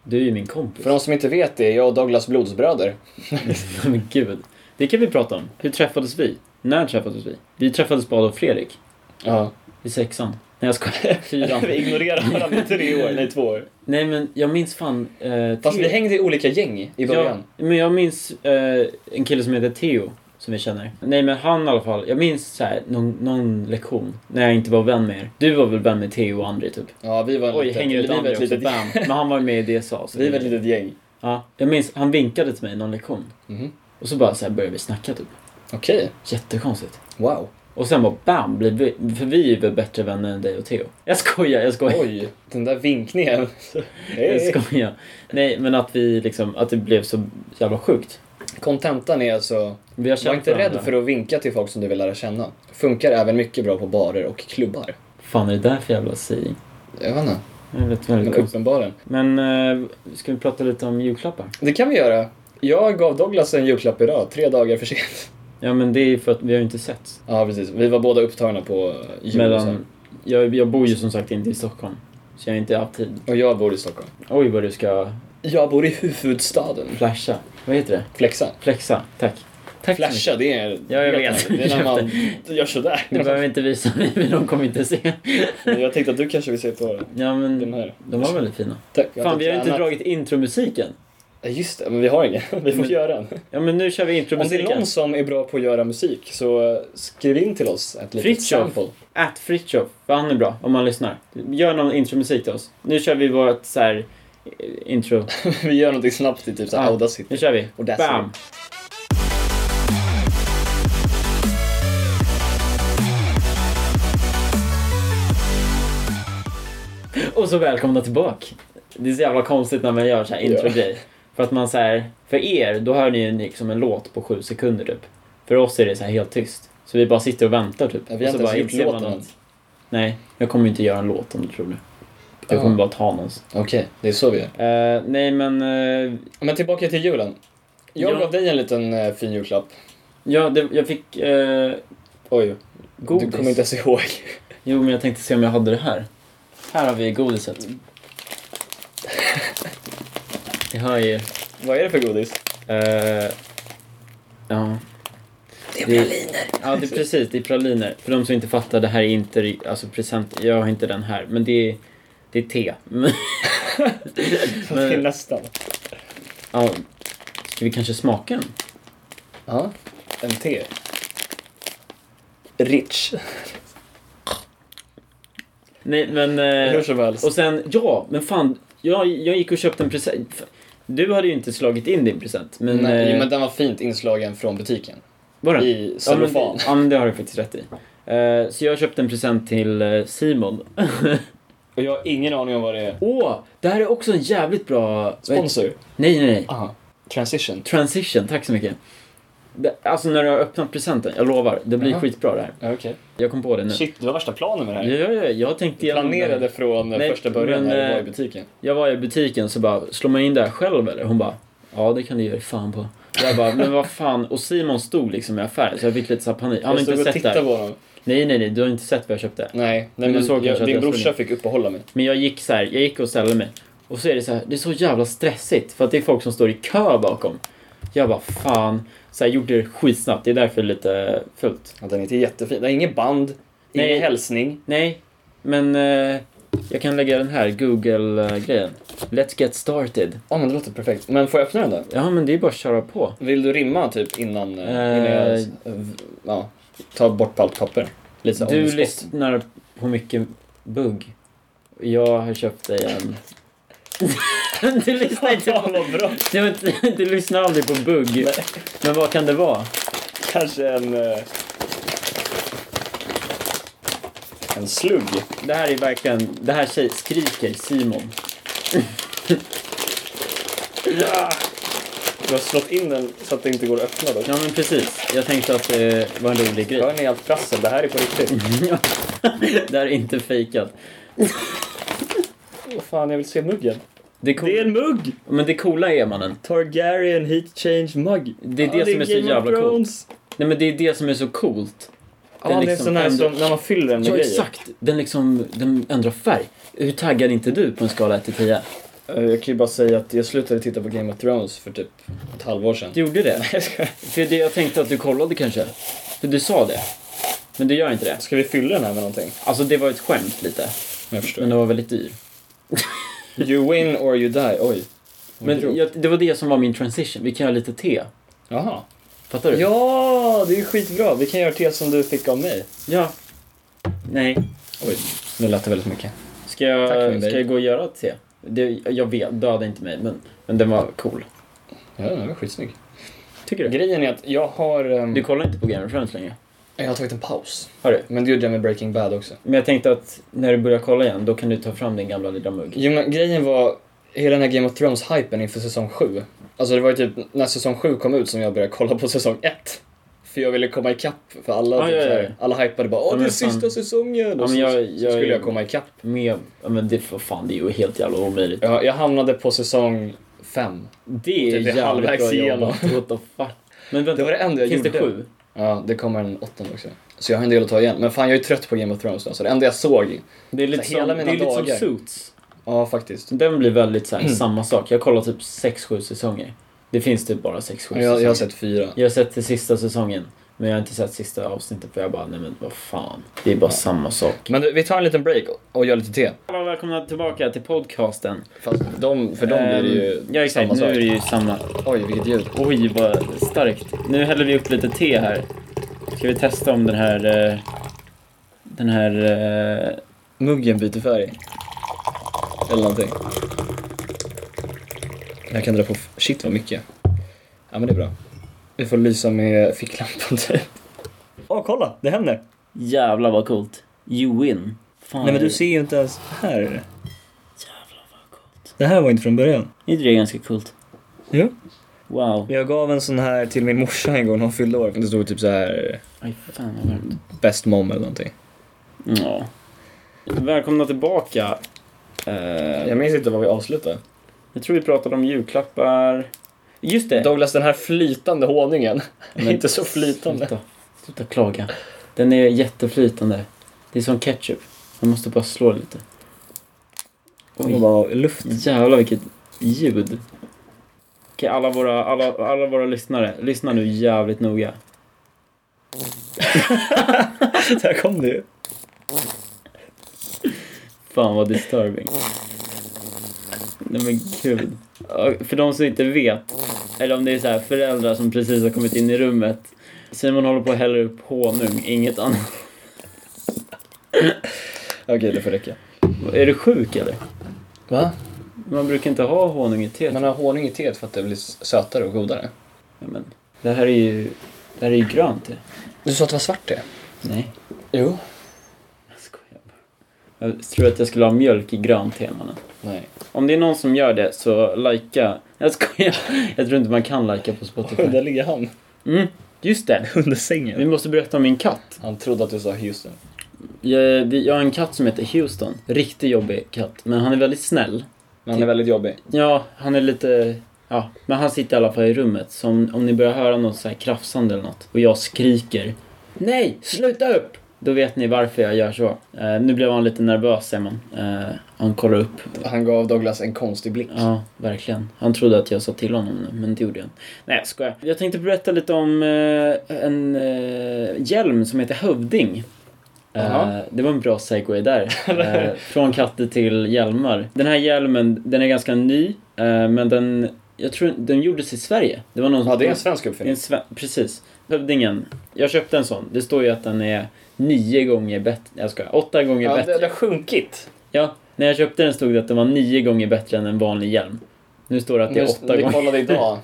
Du är ju min kompis. För de som inte vet det, jag och Douglas blodsbröder. [LAUGHS] [LAUGHS] Men gud. Det kan vi prata om. Hur träffades vi? När träffades vi? Vi träffades på Adolf Fredrik. Ja. I sexan. Nej jag skojar. Fyran. [LAUGHS] Vi ignorerar varandra i tre år, nej två år. Nej men jag minns fan... Eh, Fast Theo. vi hängde i olika gäng i början. Ja, men jag minns eh, en kille som heter Theo, som vi känner. Nej men han i alla fall, jag minns så här, någon, någon lektion när jag inte var vän med er. Du var väl vän med Theo och Andri typ? Ja, vi var Oj, lite, hänger ut vi var Andri ett också? litet, Bam. Men han var ju med i DSA. Så [LAUGHS] vi var ett litet gäng. ja, jag minns, han vinkade till mig någon lektion. Mhm. Och så bara så här började vi snacka typ. Okej, Jättekonstigt. wow. Och sen bara bam, blev vi, för vi är ju väl bättre vänner än dig och Theo. Jag skojar, jag skojar. Oj, den där vinkningen. [LAUGHS] [LAUGHS] Hej. Jag skojar. Nej men att vi liksom, att det blev så jävla sjukt. Kontentan är alltså, Vi har känt var inte varandra. rädd för att vinka till folk som du vill lära känna. Funkar även mycket bra på barer och klubbar. fan är det där för jävla sägning? Jag vet inte, Det är väldigt, väldigt men konstigt. uppenbarligen. Men eh, ska vi prata lite om julklappar? Det kan vi göra. Jag gav Douglas en julklapp idag, tre dagar för sent. [LAUGHS] Ja men det är ju för att vi har ju inte sett. Ja, precis. Vi var båda upptagna på jul. och så. Mellan, jag, jag bor ju som sagt inte i Stockholm. Så jag har inte haft tid. Och jag bor i Stockholm. Oj vad du ska Jag bor i huvudstaden. flasha. Vad heter det? Flexa. Flexa. Tack. Tack så mycket. Flasha, det är... Ja, jag vet. Det är när man [LAUGHS] gör sådär. Du behöver inte visa mig, [LAUGHS] men de kommer inte se. Jag tänkte att du kanske vill se på Ja den men, här. de var väldigt fina. Tack. Fan, vi har ju inte tränat. dragit intromusiken. Ja, Just det, men vi har ingen. [LAUGHS] Vi får Men- göra den. Ja men nu kör vi Om det är intromusiken. någon som är bra på att göra musik så eh, skriv in till oss ett litet Fritiof. sample. At Fritiof, för han är bra om man lyssnar. Gör någon intromusik till oss. Nu kör vi vårt så här eh, intro. [LAUGHS] Vi gör någonting snabbt i typ så Ja. här Audacity. Nu kör vi. Och där ser Bam! Och så välkomna tillbaka. Det är så jävla konstigt när man gör så här intro-grej. För att man så här, för er, då hör ni ju liksom en låt på sju sekunder typ. För oss är det så här helt tyst. Så vi bara sitter och väntar typ. Ja, vi och så har inte ens gjort inser man låten än. att- Nej, jag kommer ju inte göra en låt om du tror det. Jag Ja. kommer bara ta någons. Okej, det är så vi gör. Eh, nej men, eh, Men tillbaka till julen. Jag Ja. gav dig en liten eh, fin julklapp. ja, det, jag fick eh, Oj, godis. du kommer inte ens ihåg. [LAUGHS] Jo, men jag tänkte se om jag hade det här. Här har vi godiset. Det hör ju. Vad är det för godis? Eh, ja. Det är praliner. Ja, det är precis. Det är praliner. För de som inte fattar, det här är inte ri- alltså, present. Jag har inte den här, men det är, det är te. Men- [LAUGHS] Det är men, nästan. ja, ska vi kanske smaka den? Ja, en te. Rich. Nej, men... eh, Hur som helst. Och sen, ja, men fan. Jag, jag gick och köpte en present. Du hade ju inte slagit in din present, men... Nej, eh, men den var fint inslagen från butiken. var den? I Ja men, cellofan. ja, men det har du faktiskt rätt i. Eh, så jag köpte en present till eh, Simon. [LAUGHS] Och jag har ingen aning om vad det är. Åh, det här är också en jävligt bra... Sponsor. Nej, nej, nej. Aha. Transition. Transition, tack så mycket. Det, alltså när du har öppnat presenten, jag lovar, det blir Jaha. skitbra det här. Ja, Okej. Jag kom på Mm. det nu. Shit, du har värsta planen med det Ja, här. ja, ja, jag tänkte Du igenom det planerade här. från eh, Nej, första början men, när du var i eh, butiken. Jag var i butiken så bara, slår man in det här själv eller? Hon bara, ja det kan du göra fan på. Jag bara, men vad fan. Och Simon stod liksom i affären så jag fick lite så här panik. Han har jag inte stod och sett det tittade här. på honom. Nej, nej, nej, du har inte sett vad jag köpte. Nej, Men nej du men såg kanske jag, att din jag såg brorsa det. fick uppehålla mig. Men jag gick så här, jag gick och ställde mig. Och så är det så här, det är så jävla stressigt för att det är folk som står i kö bakom. Jag bara fan, så här gjorde det skitsnabbt, det är därför länge fult. Ja, den är inte jättefin. Den är inget band, Nej. ingen hälsning. Nej, men eh, jag kan lägga den här Google-grejen. Let's get started. Ja, men det låter perfekt. Men får jag öppna den då? Ja men det är bara att köra på. Vill du rimma typ innan, eh, Eh, innan jag eh, v- ja, tar bort på [LAUGHS] allt papper? Lite så här on the Du spot. lyssnar på mycket bugg. Jag har köpt dig [LAUGHS] en... du, lyssnar inte Ja, på, vad bra. du, du lyssnar aldrig på bugg. Men vad kan det vara? Kanske en... eh, En slugg. Det här är verkligen, det här tjej, skriker Simon. Du har slått in den så att det inte går att öppna dock. Ja men precis, jag tänkte att det var en rolig grej. Hör ni allt prassel? Det här är på riktigt. Mm. Det här är inte fejkat. Åh fan, jag vill se muggen. Det, cool... Det är en mugg! Men det coola är mannen. Targaryen heat change mug. Det är det som är så jävla coolt. Nej men det är det som är så coolt. Ja, det är, liksom sån här ändå- som när man fyller den med Ja grejer. exakt, den liksom, den ändrar färg. Hur taggad är inte du på en skala 1 till 10? Eh, Jag kan ju bara säga att jag slutade titta på Game of Thrones för typ ett halvår sedan. Du gjorde det? För det jag tänkte att du kollade kanske. För du sa det. Men du gör inte det. Ska vi fylla den här med någonting? Alltså det var ett skämt lite. Jag Men förstår. den var väldigt dyr. You win or you die. Oj. Men jag, det var det som var min transition. Vi kan göra lite te. Jaha. Fattar du? Ja, det är ju skitbra. Vi kan göra det som du fick av mig. Ja. Nej. Oj. Nu lät det väldigt mycket. Ska Tack, jag, min ska babe. jag gå och göra ett te? Det, jag vet, döda inte mig men, men den var cool. Ja, den var skitsnygg. Tycker du? Grejen är att jag har... ehm, Du kollar inte på Game of Thrones längre? Jag har tagit en paus. Har du? Men det gjorde jag med Breaking Bad också. Men jag tänkte att när du börjar kolla igen, då kan du ta fram din gamla lilla mugg. Jo, men grejen var hela den här Game of Thrones-hypen inför säsong 7. Alltså det var ju typ när säsong 7 kom ut som jag började kolla på säsong 1. För jag ville komma ikapp för alla, Ah, Ja, typ, ja, ja. så här, alla hypade bara åh Ja, det är men fan. sista säsongen! Ja, och men så, jag- så jag- skulle jag komma ikapp. Med, ja, men det, för fan, det är ju helt jävla omöjligt. Jag, jag hamnade på säsong 5. Det är Typ jävligt halvvägs bra igenom. jobbat. What the fuck. Men vänta, Det var det enda jag finns gjorde. det sju? Ja, det kommer en åttonde också. Så jag har en del att ta igen. Men fan jag är ju trött på Game of Thrones nu. Så det enda jag såg, Det är lite, Så hela som, det mina är lite som dagar. Mm. Suits. ja faktiskt. Den blir väldigt så här, samma sak. Jag kollar typ 6-7 säsonger. Det finns typ bara 6-7 Ja, säsonger. Jag, jag har sett fyra. Jag har sett till sista säsongen. Men jag har inte sett sista avsnittet för jag bara, nej men vad fan. Det är bara samma sak. Men du, vi tar en liten break och- och gör lite te. Hallå, välkomna tillbaka till podcasten. Fast de, för dem blir det ju Ehm, Ja exakt, samma nu sak. är det ju samma. Oj, vilket ljud. Oj vad starkt. Nu häller vi upp lite te här. Ska vi testa om den här... eh, Den här... eh, Muggen byter färg. Eller någonting. Jag kan dra på... f- Shit vad mycket. Ja men det är bra. Vi får lysa med ficklampan typ. Åh kolla, det händer! Jävlar vad coolt. You win. Fan, Nej men du ser ju inte ens här. Jävlar vad coolt. Det här var inte från början. Är inte det ganska coolt? Jo. Wow. Jag gav en sån här till min morsa en gång när hon fyllde år. Det stod typ så här Aj, fan vad varmt. best mom eller någonting. Ja. Välkomna tillbaka. Eh, Jag minns inte vad vi avslutade. jag tror vi pratade om julklappar. Just det! Douglas, den här flytande honungen. [LAUGHS] Men- [LAUGHS] inte så flytande. Sluta, sluta klaga. Den är jätteflytande. Det är som ketchup. Man måste bara slå lite. Hon Oj, var luft. jävlar vilket ljud. Okej, alla våra, alla, alla våra lyssnare, lyssna nu jävligt noga. [LAUGHS] Där kom det ju. Fan vad disturbing. Nej men gud. Ja, För de som inte vet, eller om det är så här föräldrar som precis har kommit in i rummet. Simon håller på att hälla upp honung, inget annat. Okej, det får räcka. Är du sjuk eller? Va? Man brukar inte ha honung i teet. Man har honung i teet för att det blir sötare och godare. Ja, men, det här är ju, det här är ju grönt te. Du sa att det var svart te? Nej, Jo. jag skojar bara. Jag tror att jag skulle ha mjölk i grönt te mannen. Nej. Om det är någon som gör det så likea. Jag skojar. Jag tror inte man kan likea på Spotify. [LAUGHS] Där ligger han. Mm, just det. Under Vi sängen. måste berätta om min katt. Han trodde att du sa Houston. Jag, vi- jag har en katt som heter Houston. Riktigt jobbig katt, men han är väldigt snäll. Men han är väldigt jobbig. Ja, han är lite... Ja, men han sitter i alla fall i rummet. Så om, om ni börjar höra något så här krafsande eller något och jag skriker Nej, sluta upp! Då vet ni varför jag gör så. Eh, nu blev han lite nervös, ser man. Eh, han kollar upp. Han gav Douglas en konstig blick. Ja, verkligen. Han trodde att jag sa till honom nu, men det gjorde jag inte. Nej, jag skojar. Jag tänkte berätta lite om eh, en eh, hjälm som heter Hövding. Eh, Jaha. det var en bra segway [LAUGHS] där. Eh, från katter till hjälmar. Den här hjälmen, den är ganska ny, eh, men den, jag tror den gjordes i Sverige. Det var någon som- Ja, det är en svensk det är en uppfinning. sve- Precis. Hövdingen. Jag köpte en sån. Det står ju att den är nio gånger bättre. Jag skojar. Åtta gånger Ja, bättre. det, det har sjunkit. Ja, när jag köpte den stod det att den var nio gånger bättre än en vanlig hjälm. Nu står det att det är Nu- åtta vi gånger. kollade idag.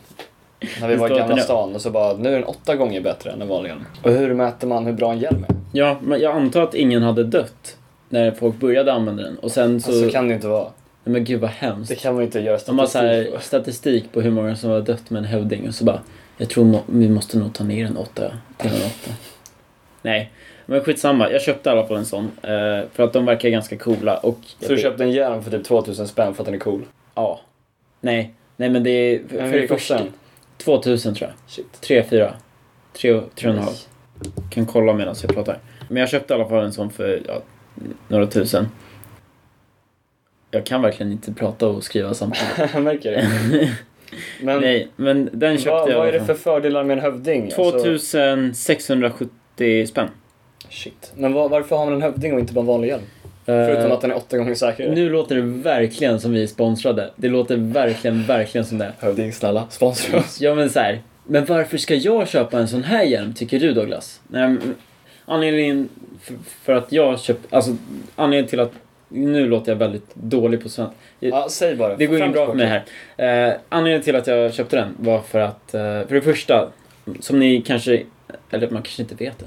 [LAUGHS] När vi var i står att den Gamla är- stan och så bara, nu är den åtta Alltså, gånger bättre än den vanliga. Och hur mäter man hur bra en hjälm är? Ja, men jag antar att ingen hade dött när folk började använda den. Och sen så... Så Alltså, kan det inte vara. Nej, men gud vad hemskt. Det kan man inte göra De har så statistik här för. statistik på hur många som har dött med en hövding och så bara Jag tror må- vi måste nog ta ner den åtta till en åtta. Nej, men skitsamma. Jag köpte i alla fall en sån. eh, För att de verkar ganska coola och... Så du köpte en hjälm för typ 2000 spänn för att den är cool? Ja. Nej, nej men det är... För, Men för det hur kostar första... den? 2000 tror jag. Shit. 3, 4. 3, 3 och en halv. Nice. Kan kolla medan jag pratar. Men jag köpte i alla fall en sån för ja, några tusen. Jag kan verkligen inte prata och [LAUGHS] skriva samtidigt. Jag märker det. Men Nej, men den köpte vad, jag. i vad är alla det fall. för fördelar med en hövding? Alltså, 2670 spänn. shit. Men vad, varför har man en hövding och inte bara en vanlig hjälm? Förutom att den är åtta gånger Eh, säkrare. nu låter det verkligen som vi är sponsrade. Det låter verkligen, verkligen som det. Hövding, snälla, sponsra oss. Ja men så här. Men varför ska jag köpa en sån här hjälm tycker du Douglas? Nej, men anledningen för, för att jag köpt, alltså anledningen till att, nu låter jag väldigt dålig på svenska. Ja, säg bara. Det går Fram in bra till för mig här. Eh, anledningen till att jag köpte den var för att, eh, för det första, som ni kanske, eller man kanske inte vet det.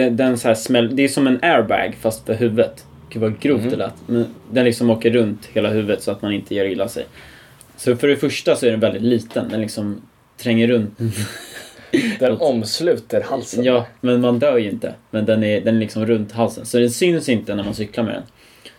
det den så här smäll, det är som en airbag fast för huvudet. Gud vad grovt Mhm. det lät. Men den liksom åker runt hela huvudet så att man inte gör illa sig. Så för det första så är den väldigt liten. Den liksom tränger runt. Den omsluter halsen. Ja, men man dör ju inte. Men den är, den är liksom runt halsen. Så den syns inte när man cyklar med den.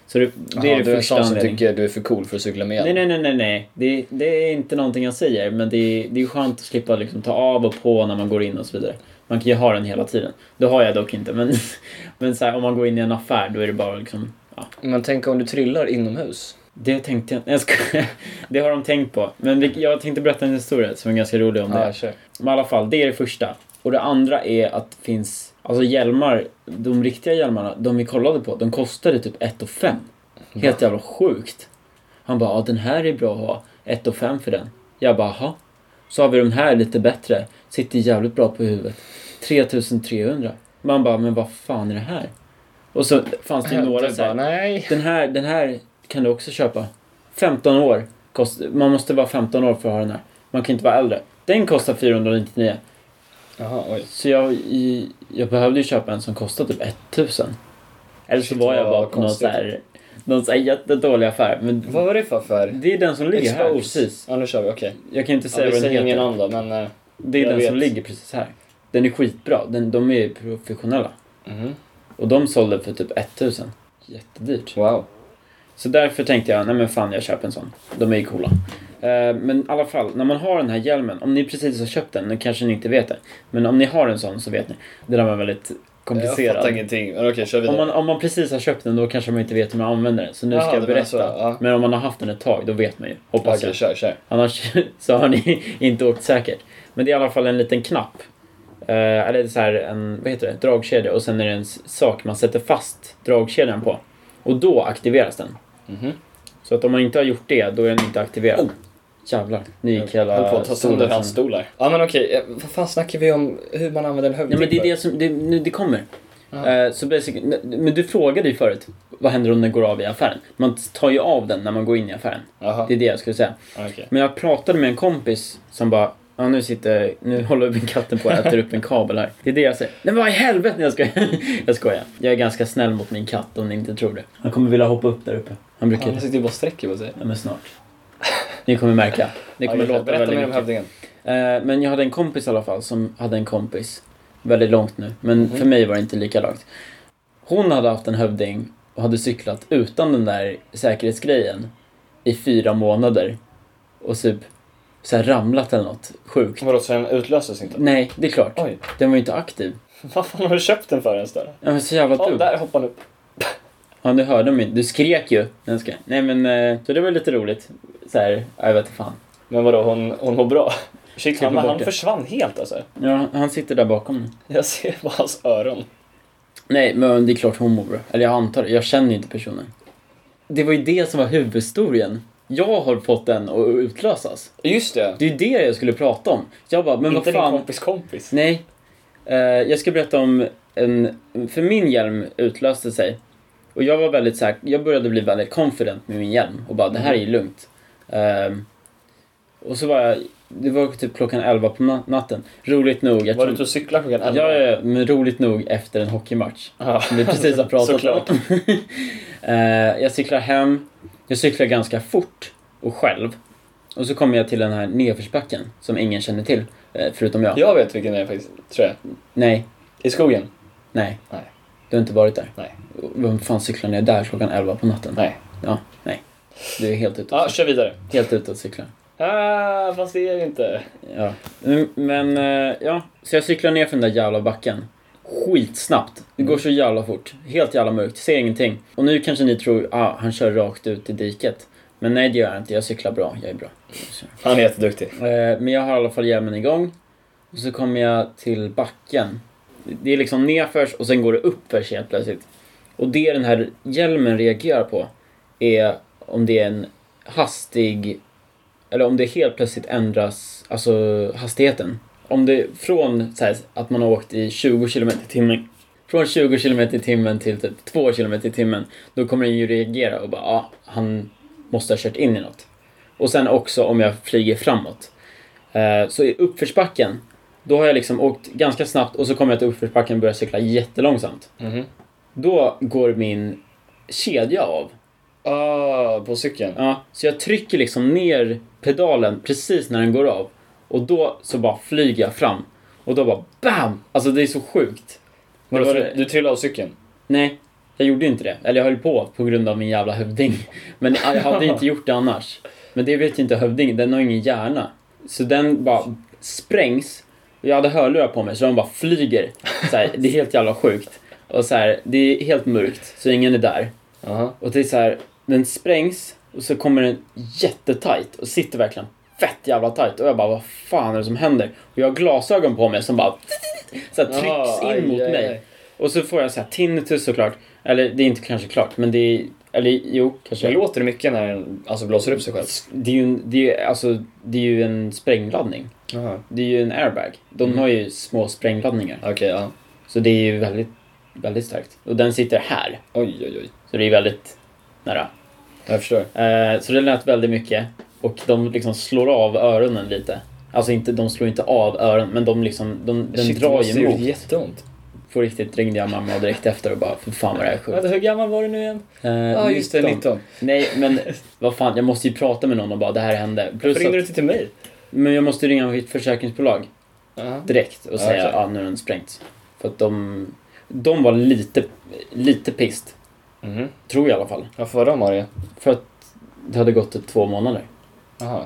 Så det, det är Jaha, det du är en första sån som anledningen. tycker du är för cool för att cykla med Nej, hjälm. nej, nej, nej, nej. Det, det är inte någonting jag säger, men det är, det är skönt att slippa liksom ta av och på när man går in och så vidare. Man kan ju ha den hela tiden. Det har jag dock inte, men, [LAUGHS] men så här, om man går in i en affär då är det bara liksom, ja. Men tänk om du trillar inomhus? Det tänkte jag, jag skojar. Det har de tänkt på. Men det, jag tänkte berätta en historia som är ganska rolig om det. Ja, kör. Men i alla fall, det är det första. Och det andra är att det finns, alltså hjälmar, de riktiga hjälmarna, de vi kollade på, de kostade typ 1 och 5. Helt jävla sjukt. Han bara, ja den här är bra att ha, 1 och 5 för den. Jag bara, jaha. Så har vi den här lite bättre, sitter jävligt bra på huvudet. 3300. Man bara, men vad fan är det här? Och så fanns det ju några typ Du så här, typ bara, nej. den här, den här kan du också köpa. 15 år. Kost, man måste vara 15 år för att ha den här. Man kan inte vara äldre. Den kostar 499. Jaha, oj. Så jag, i- jag behövde ju köpa en som kostade typ 1000. Eller så Shit, var jag vad bara på någon så konstigt. här, någon så här jättedålig affär. Men Vad var det för affär? det är den som ligger här Exposed. precis. Ja, nu kör vi. Okej. Jag kan inte Ja, säga vi vad den säger ingen heter. namn då, men... eh, Det är Jag den som vet. ligger precis här. Den är skitbra. Den, de är professionella. mhm. Och de sålde för typ 1000. Jättedyrt. Wow. Så därför tänkte jag, nej men fan jag köper en sån. De är ju coola. Eh, Men i alla fall, när man har den här hjälmen, om ni precis har köpt den, nu kanske ni inte vet det. Men om ni har en sån så vet ni. Det där var väldigt Jag fattar komplicerat. ingenting. Men okej, kör Om vidare. man, om man precis har köpt den då kanske man inte vet hur man använder den. Så nu Jaha, ska jag det menar så, berätta. ja. Men om man har haft den ett tag, då vet man ju. Hoppas Okej, jag. kör, kör. Annars [LAUGHS] så har ni inte åkt säkert. Men det är i alla fall en liten knapp. Eh, eller så här en, vad heter det, dragkedja. Och sen är det en s- sak man sätter fast dragkedjan på. Och då aktiveras den. Mhm. Så att om man inte har gjort det, då är den inte aktiverad. Jävlar, nu gick hela... Oh. Höll på att ta sönder stolen hans sönder. stol här. Ja men okej, eh, vad fan snackar vi om hur man använder en hövding Nej men det är för? det som, det, nu, det kommer. Aha. Eh, så basically, ne- men du frågade ju förut, vad händer om den går av i affären? Man tar ju av den när man går in i affären. Jaha, Det är det jag skulle säga. ja, okej. Men jag pratade med en kompis som bara, ja nu sitter, nu håller min katten på att äta upp en kabel här. Det är det jag säger. Nej men vad i helvete, Nej, jag skojar. [LAUGHS] Jag skojar. Jag är ganska snäll mot min katt om ni inte tror det. Han kommer vilja hoppa upp där uppe. Han brukar Han sitter ju bara och sträcker på sig. Ja, men snart. Ni kommer märka. Det kommer Ja, låta Berätta väldigt mer om mycket. hövdingen. Eh, men jag hade en kompis i alla fall som hade en kompis. Väldigt långt nu, men Mhm. för mig var det inte likadant. Hon hade haft en hövding och hade cyklat utan den där säkerhetsgrejen i fyra månader. Och typ så här ramlat eller något sjukt. Vadå, så den utlöses inte? Nej, det är klart. Oj, Den var ju inte aktiv. [LAUGHS] vad fan har du köpt den för ens då? Jag var så jävla Ja, dum. där hoppar den upp. Ja, du hörde mig. Du skrek ju. Jag skojar. Nej, men eh, så det var lite roligt. Så här, ja, jag vet inte fan. Men vadå, hon, hon mår bra? Shit, han, Klipper bort han det. försvann helt alltså. Ja, han sitter där bakom nu. Jag ser bara hans öron. Nej, men det är klart hon mår bra. Eller jag antar det. Jag känner ju inte personen. Det var ju det som var huvudhistorien. Jag har fått den att utlösas. Just det, Det är ju det jag skulle prata om. Jag bara, men inte vad fan. din kompis kompis. Nej. Eh, jag ska berätta om en... För min hjälm utlöste sig. Och jag var väldigt säker. Jag började bli Mm. väldigt confident med min hjälm. Och bara, det här är lugnt. Ehm, och så var jag det var typ klockan 11 på na- natten. Roligt nog. Jag Var tror, du ute och cyklade klockan ja, 11? ja, ja, men roligt nog efter en hockeymatch. Ja. Som vi precis har pratat Såklart. om. [LAUGHS] Eh, jag cyklar hem. Jag cyklar ganska fort och själv. Och så kommer jag till den här nedförsbacken som ingen känner till, eh, förutom jag. Jag vet vilken det är faktiskt, tror jag. Nej, I skogen? nej. Nej. Du har inte varit där? Nej. Vem fan cyklar ner där klockan 11 på natten? Nej. Ja, nej. Du är helt ute Ja, och ah, cyklar. kör vidare. Helt ute och cyklar. Ah, fast det är det inte. Ja. Mm, Men, eh, ja. Så jag cyklar ner för den där jävla backen. Skitsnabbt. Det går så jävla fort. Helt jävla mörkt. Ser ingenting. Och nu kanske ni tror, ah, han kör rakt ut i diket. Men nej, det gör jag inte. Jag cyklar bra. Jag är bra. Så. Han är jätteduktig. Eh, Men jag har i alla fall hjälmen igång. Och så kommer jag till backen. Det är liksom nerförs och sen går det uppförs helt plötsligt. Och det den här hjälmen reagerar på är om det är en hastig... Eller om det helt plötsligt ändras, alltså hastigheten. Om det från så här, att man har åkt i 20 km i timmen från 20 km i timmen till typ 2 km i timmen, då kommer den ju reagera och bara ah, han måste ha kört in i något. Och sen också om jag flyger framåt. Eh, så i uppförsbacken, då har jag liksom åkt ganska snabbt och så kommer jag till uppförsbacken och börjar cykla jättelångsamt. Mhm. Då går min kedja av. Ah, på cykeln? Ja, så jag trycker liksom ner pedalen precis när den går av. Och då så bara flyger jag fram. Och då bara BAM! Alltså det är så sjukt. Vadå, Det var- du, du trillade av cykeln? Nej, jag gjorde inte det. Eller jag höll på på grund av min jävla hövding. Men jag hade inte gjort det annars. Men det vet ju inte hövdingen, den har ingen hjärna. Så den bara sprängs. Och Jag hade hörlurar på mig så de bara flyger. Så här, det är helt jävla sjukt. Och så här, det är helt mörkt, så ingen är där. Jaha. Och det är så här, den sprängs och så kommer den jättetajt och sitter verkligen fett jävla tajt. Och jag bara, vad fan är det som händer? Och jag har glasögon på mig som bara så här, trycks Ah, in aj, mot aj, mig. aj. Och så får jag så här tinnitus såklart. Eller det är inte kanske klart, men det är... Eller jo, kanske. Det låter mycket när den alltså, blåser upp sig själv. Det är ju en, det är, ju- alltså, det är ju en sprängladdning. Jaha. Det är ju en airbag. De Mm. har ju små sprängladdningar. Okej, ja. Så det är ju väldigt, väldigt starkt. Och den sitter här. Oj, oj, oj. Så det är väldigt nära. Jag förstår. Eh, så det lät väldigt mycket. Och de liksom slår av öronen lite. Alltså inte, de slår inte av öronen, men de liksom, de, den Shit, det drar måste ju gjort emot. jätteont. På riktigt ringde jag mamma direkt efter och bara, för fan vad det här är Eh, sjukt. Vänta, hur gammal var du nu igen? Ja, Ja, ah, just det, 19. Nej, men vad fan, jag måste ju prata med någon och bara det här hände. Plus Varför ringde du att, inte till mig? men jag måste ringa mitt försäkringsbolag Jaha. direkt och Ja, säga ja, exakt. nu har den sprängts. För att de, de var lite, lite pist. Mhm. Tror jag i alla fall. Varför var de arga? För att det hade gått typ två månader. Jaha.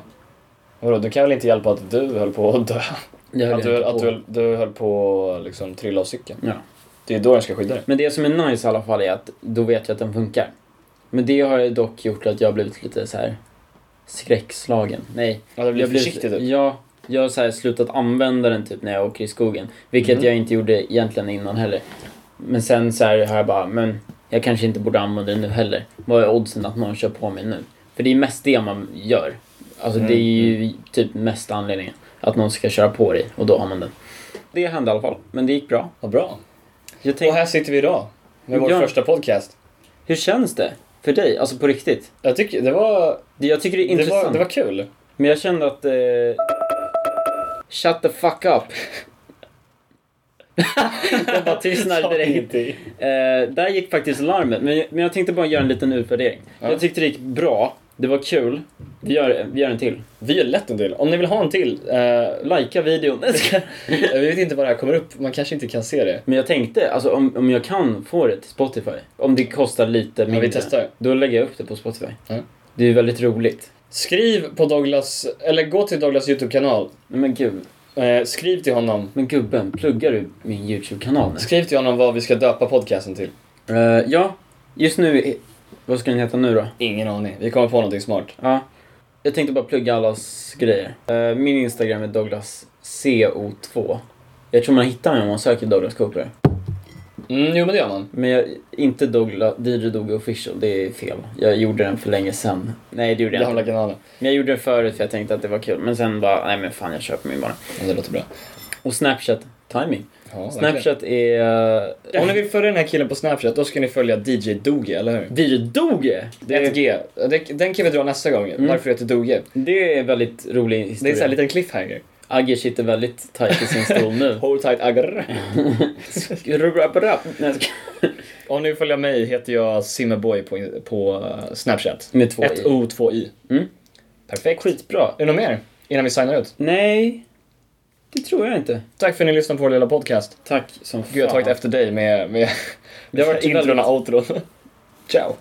Vadå, du kan väl inte hjälpa att du höll på att dö? Det höll Att jag du, inte att på. du, du höll på att liksom trilla av cykeln? Ja. Det är då den ska skydda dig. Men det som är nice i alla fall är att då vet jag att den funkar. Men det har ju dock gjort att jag har blivit lite så här skräckslagen. Nej, Ja, du blir Jag blev- försiktig typ. Ja, jag har så här slutat använda den typ när jag åker i skogen. Vilket Mm. jag inte gjorde egentligen innan heller. Men sen så här har jag bara, men jag kanske inte borde använda den nu heller. Vad är oddsen att någon kör på mig nu? För det är mest det man gör. Alltså det är Mm. ju typ mest anledningen. Att någon ska köra på dig och då har man den. Det hände i alla fall, men det gick bra. Vad bra. Jag tänkte, Och här sitter vi idag. Med vår Ja. första podcast. hur känns det för dig? Alltså på riktigt? Jag tycker det var, Det- Jag tycker det är det intressant. var, det var kul. Men jag kände att... Eh... Shut the fuck up. jag [LAUGHS] bara tystnar direkt. Ingenting. Eh, där gick faktiskt larmet, men, men jag tänkte bara göra en liten utvärdering. Jag tyckte det gick bra, det var kul. Vi gör, vi gör en till. Vi gör lätt en till. Om ni vill ha en till, eh, Lajka videon. [LAUGHS] Nej, jag skojar. vi vet inte var det här kommer upp, man kanske inte kan se det. men jag tänkte, alltså om, om jag kan få det till Spotify, om det kostar lite mindre, vi testar. då lägger jag upp det på Spotify. Mm. Det är väldigt roligt. Skriv på Douglas, eller gå till Douglas YouTube-kanal. Nej, Men gud, Eh, skriv till honom. men gubben, pluggar du min YouTube-kanal nu? Skriv till honom vad vi ska döpa podcasten till. Eh, ja, just nu, är- vad ska den heta nu då? Ingen aning. Vi kommer på någonting smart. Ja. Jag tänkte bara plugga allas grejer. Eh, Min Instagram är DouglasCO2. Jag tror man hittar mig om man söker Douglas Cooper. Mm, jo men det gör man. Men jag, inte Douglas, DJ Douglas official, det är fel. Jag gjorde den för länge sedan. Nej, det gjorde jag Gamla inte. kanalen. Men jag gjorde den förut för jag tänkte att det var kul. Men sen bara, nej men fan jag köper min bara. Ja, det låter bra. Och Snapchat, timing. Ja, verkligen. Snapchat är... eh, Om ni vill följa den här killen på Snapchat, då ska ni följa DJ Doge, eller hur? DJ Doge! Det är... 1G. Det- Den kan vi dra nästa gång, Mm. varför det heter Doge. Det är en väldigt rolig Det är historia. en sån här liten cliffhanger. Agge sitter väldigt tight i sin stol [LAUGHS] nu. Hold tight aggar. Rubrabra- Nej, jag skojar. Om ni vill följa mig heter jag Simmerboy på, på eh, Snapchat. Med två i. 1O, 2I. Mm. Perfekt. Skitbra. Är det något mer innan vi signar ut? Nej, det tror jag inte. Tack för att ni lyssnade på vår lilla podcast. Tack som fan. Gud, jag har tagit efter dig med, med, Det har med varit introna och outron. Ciao.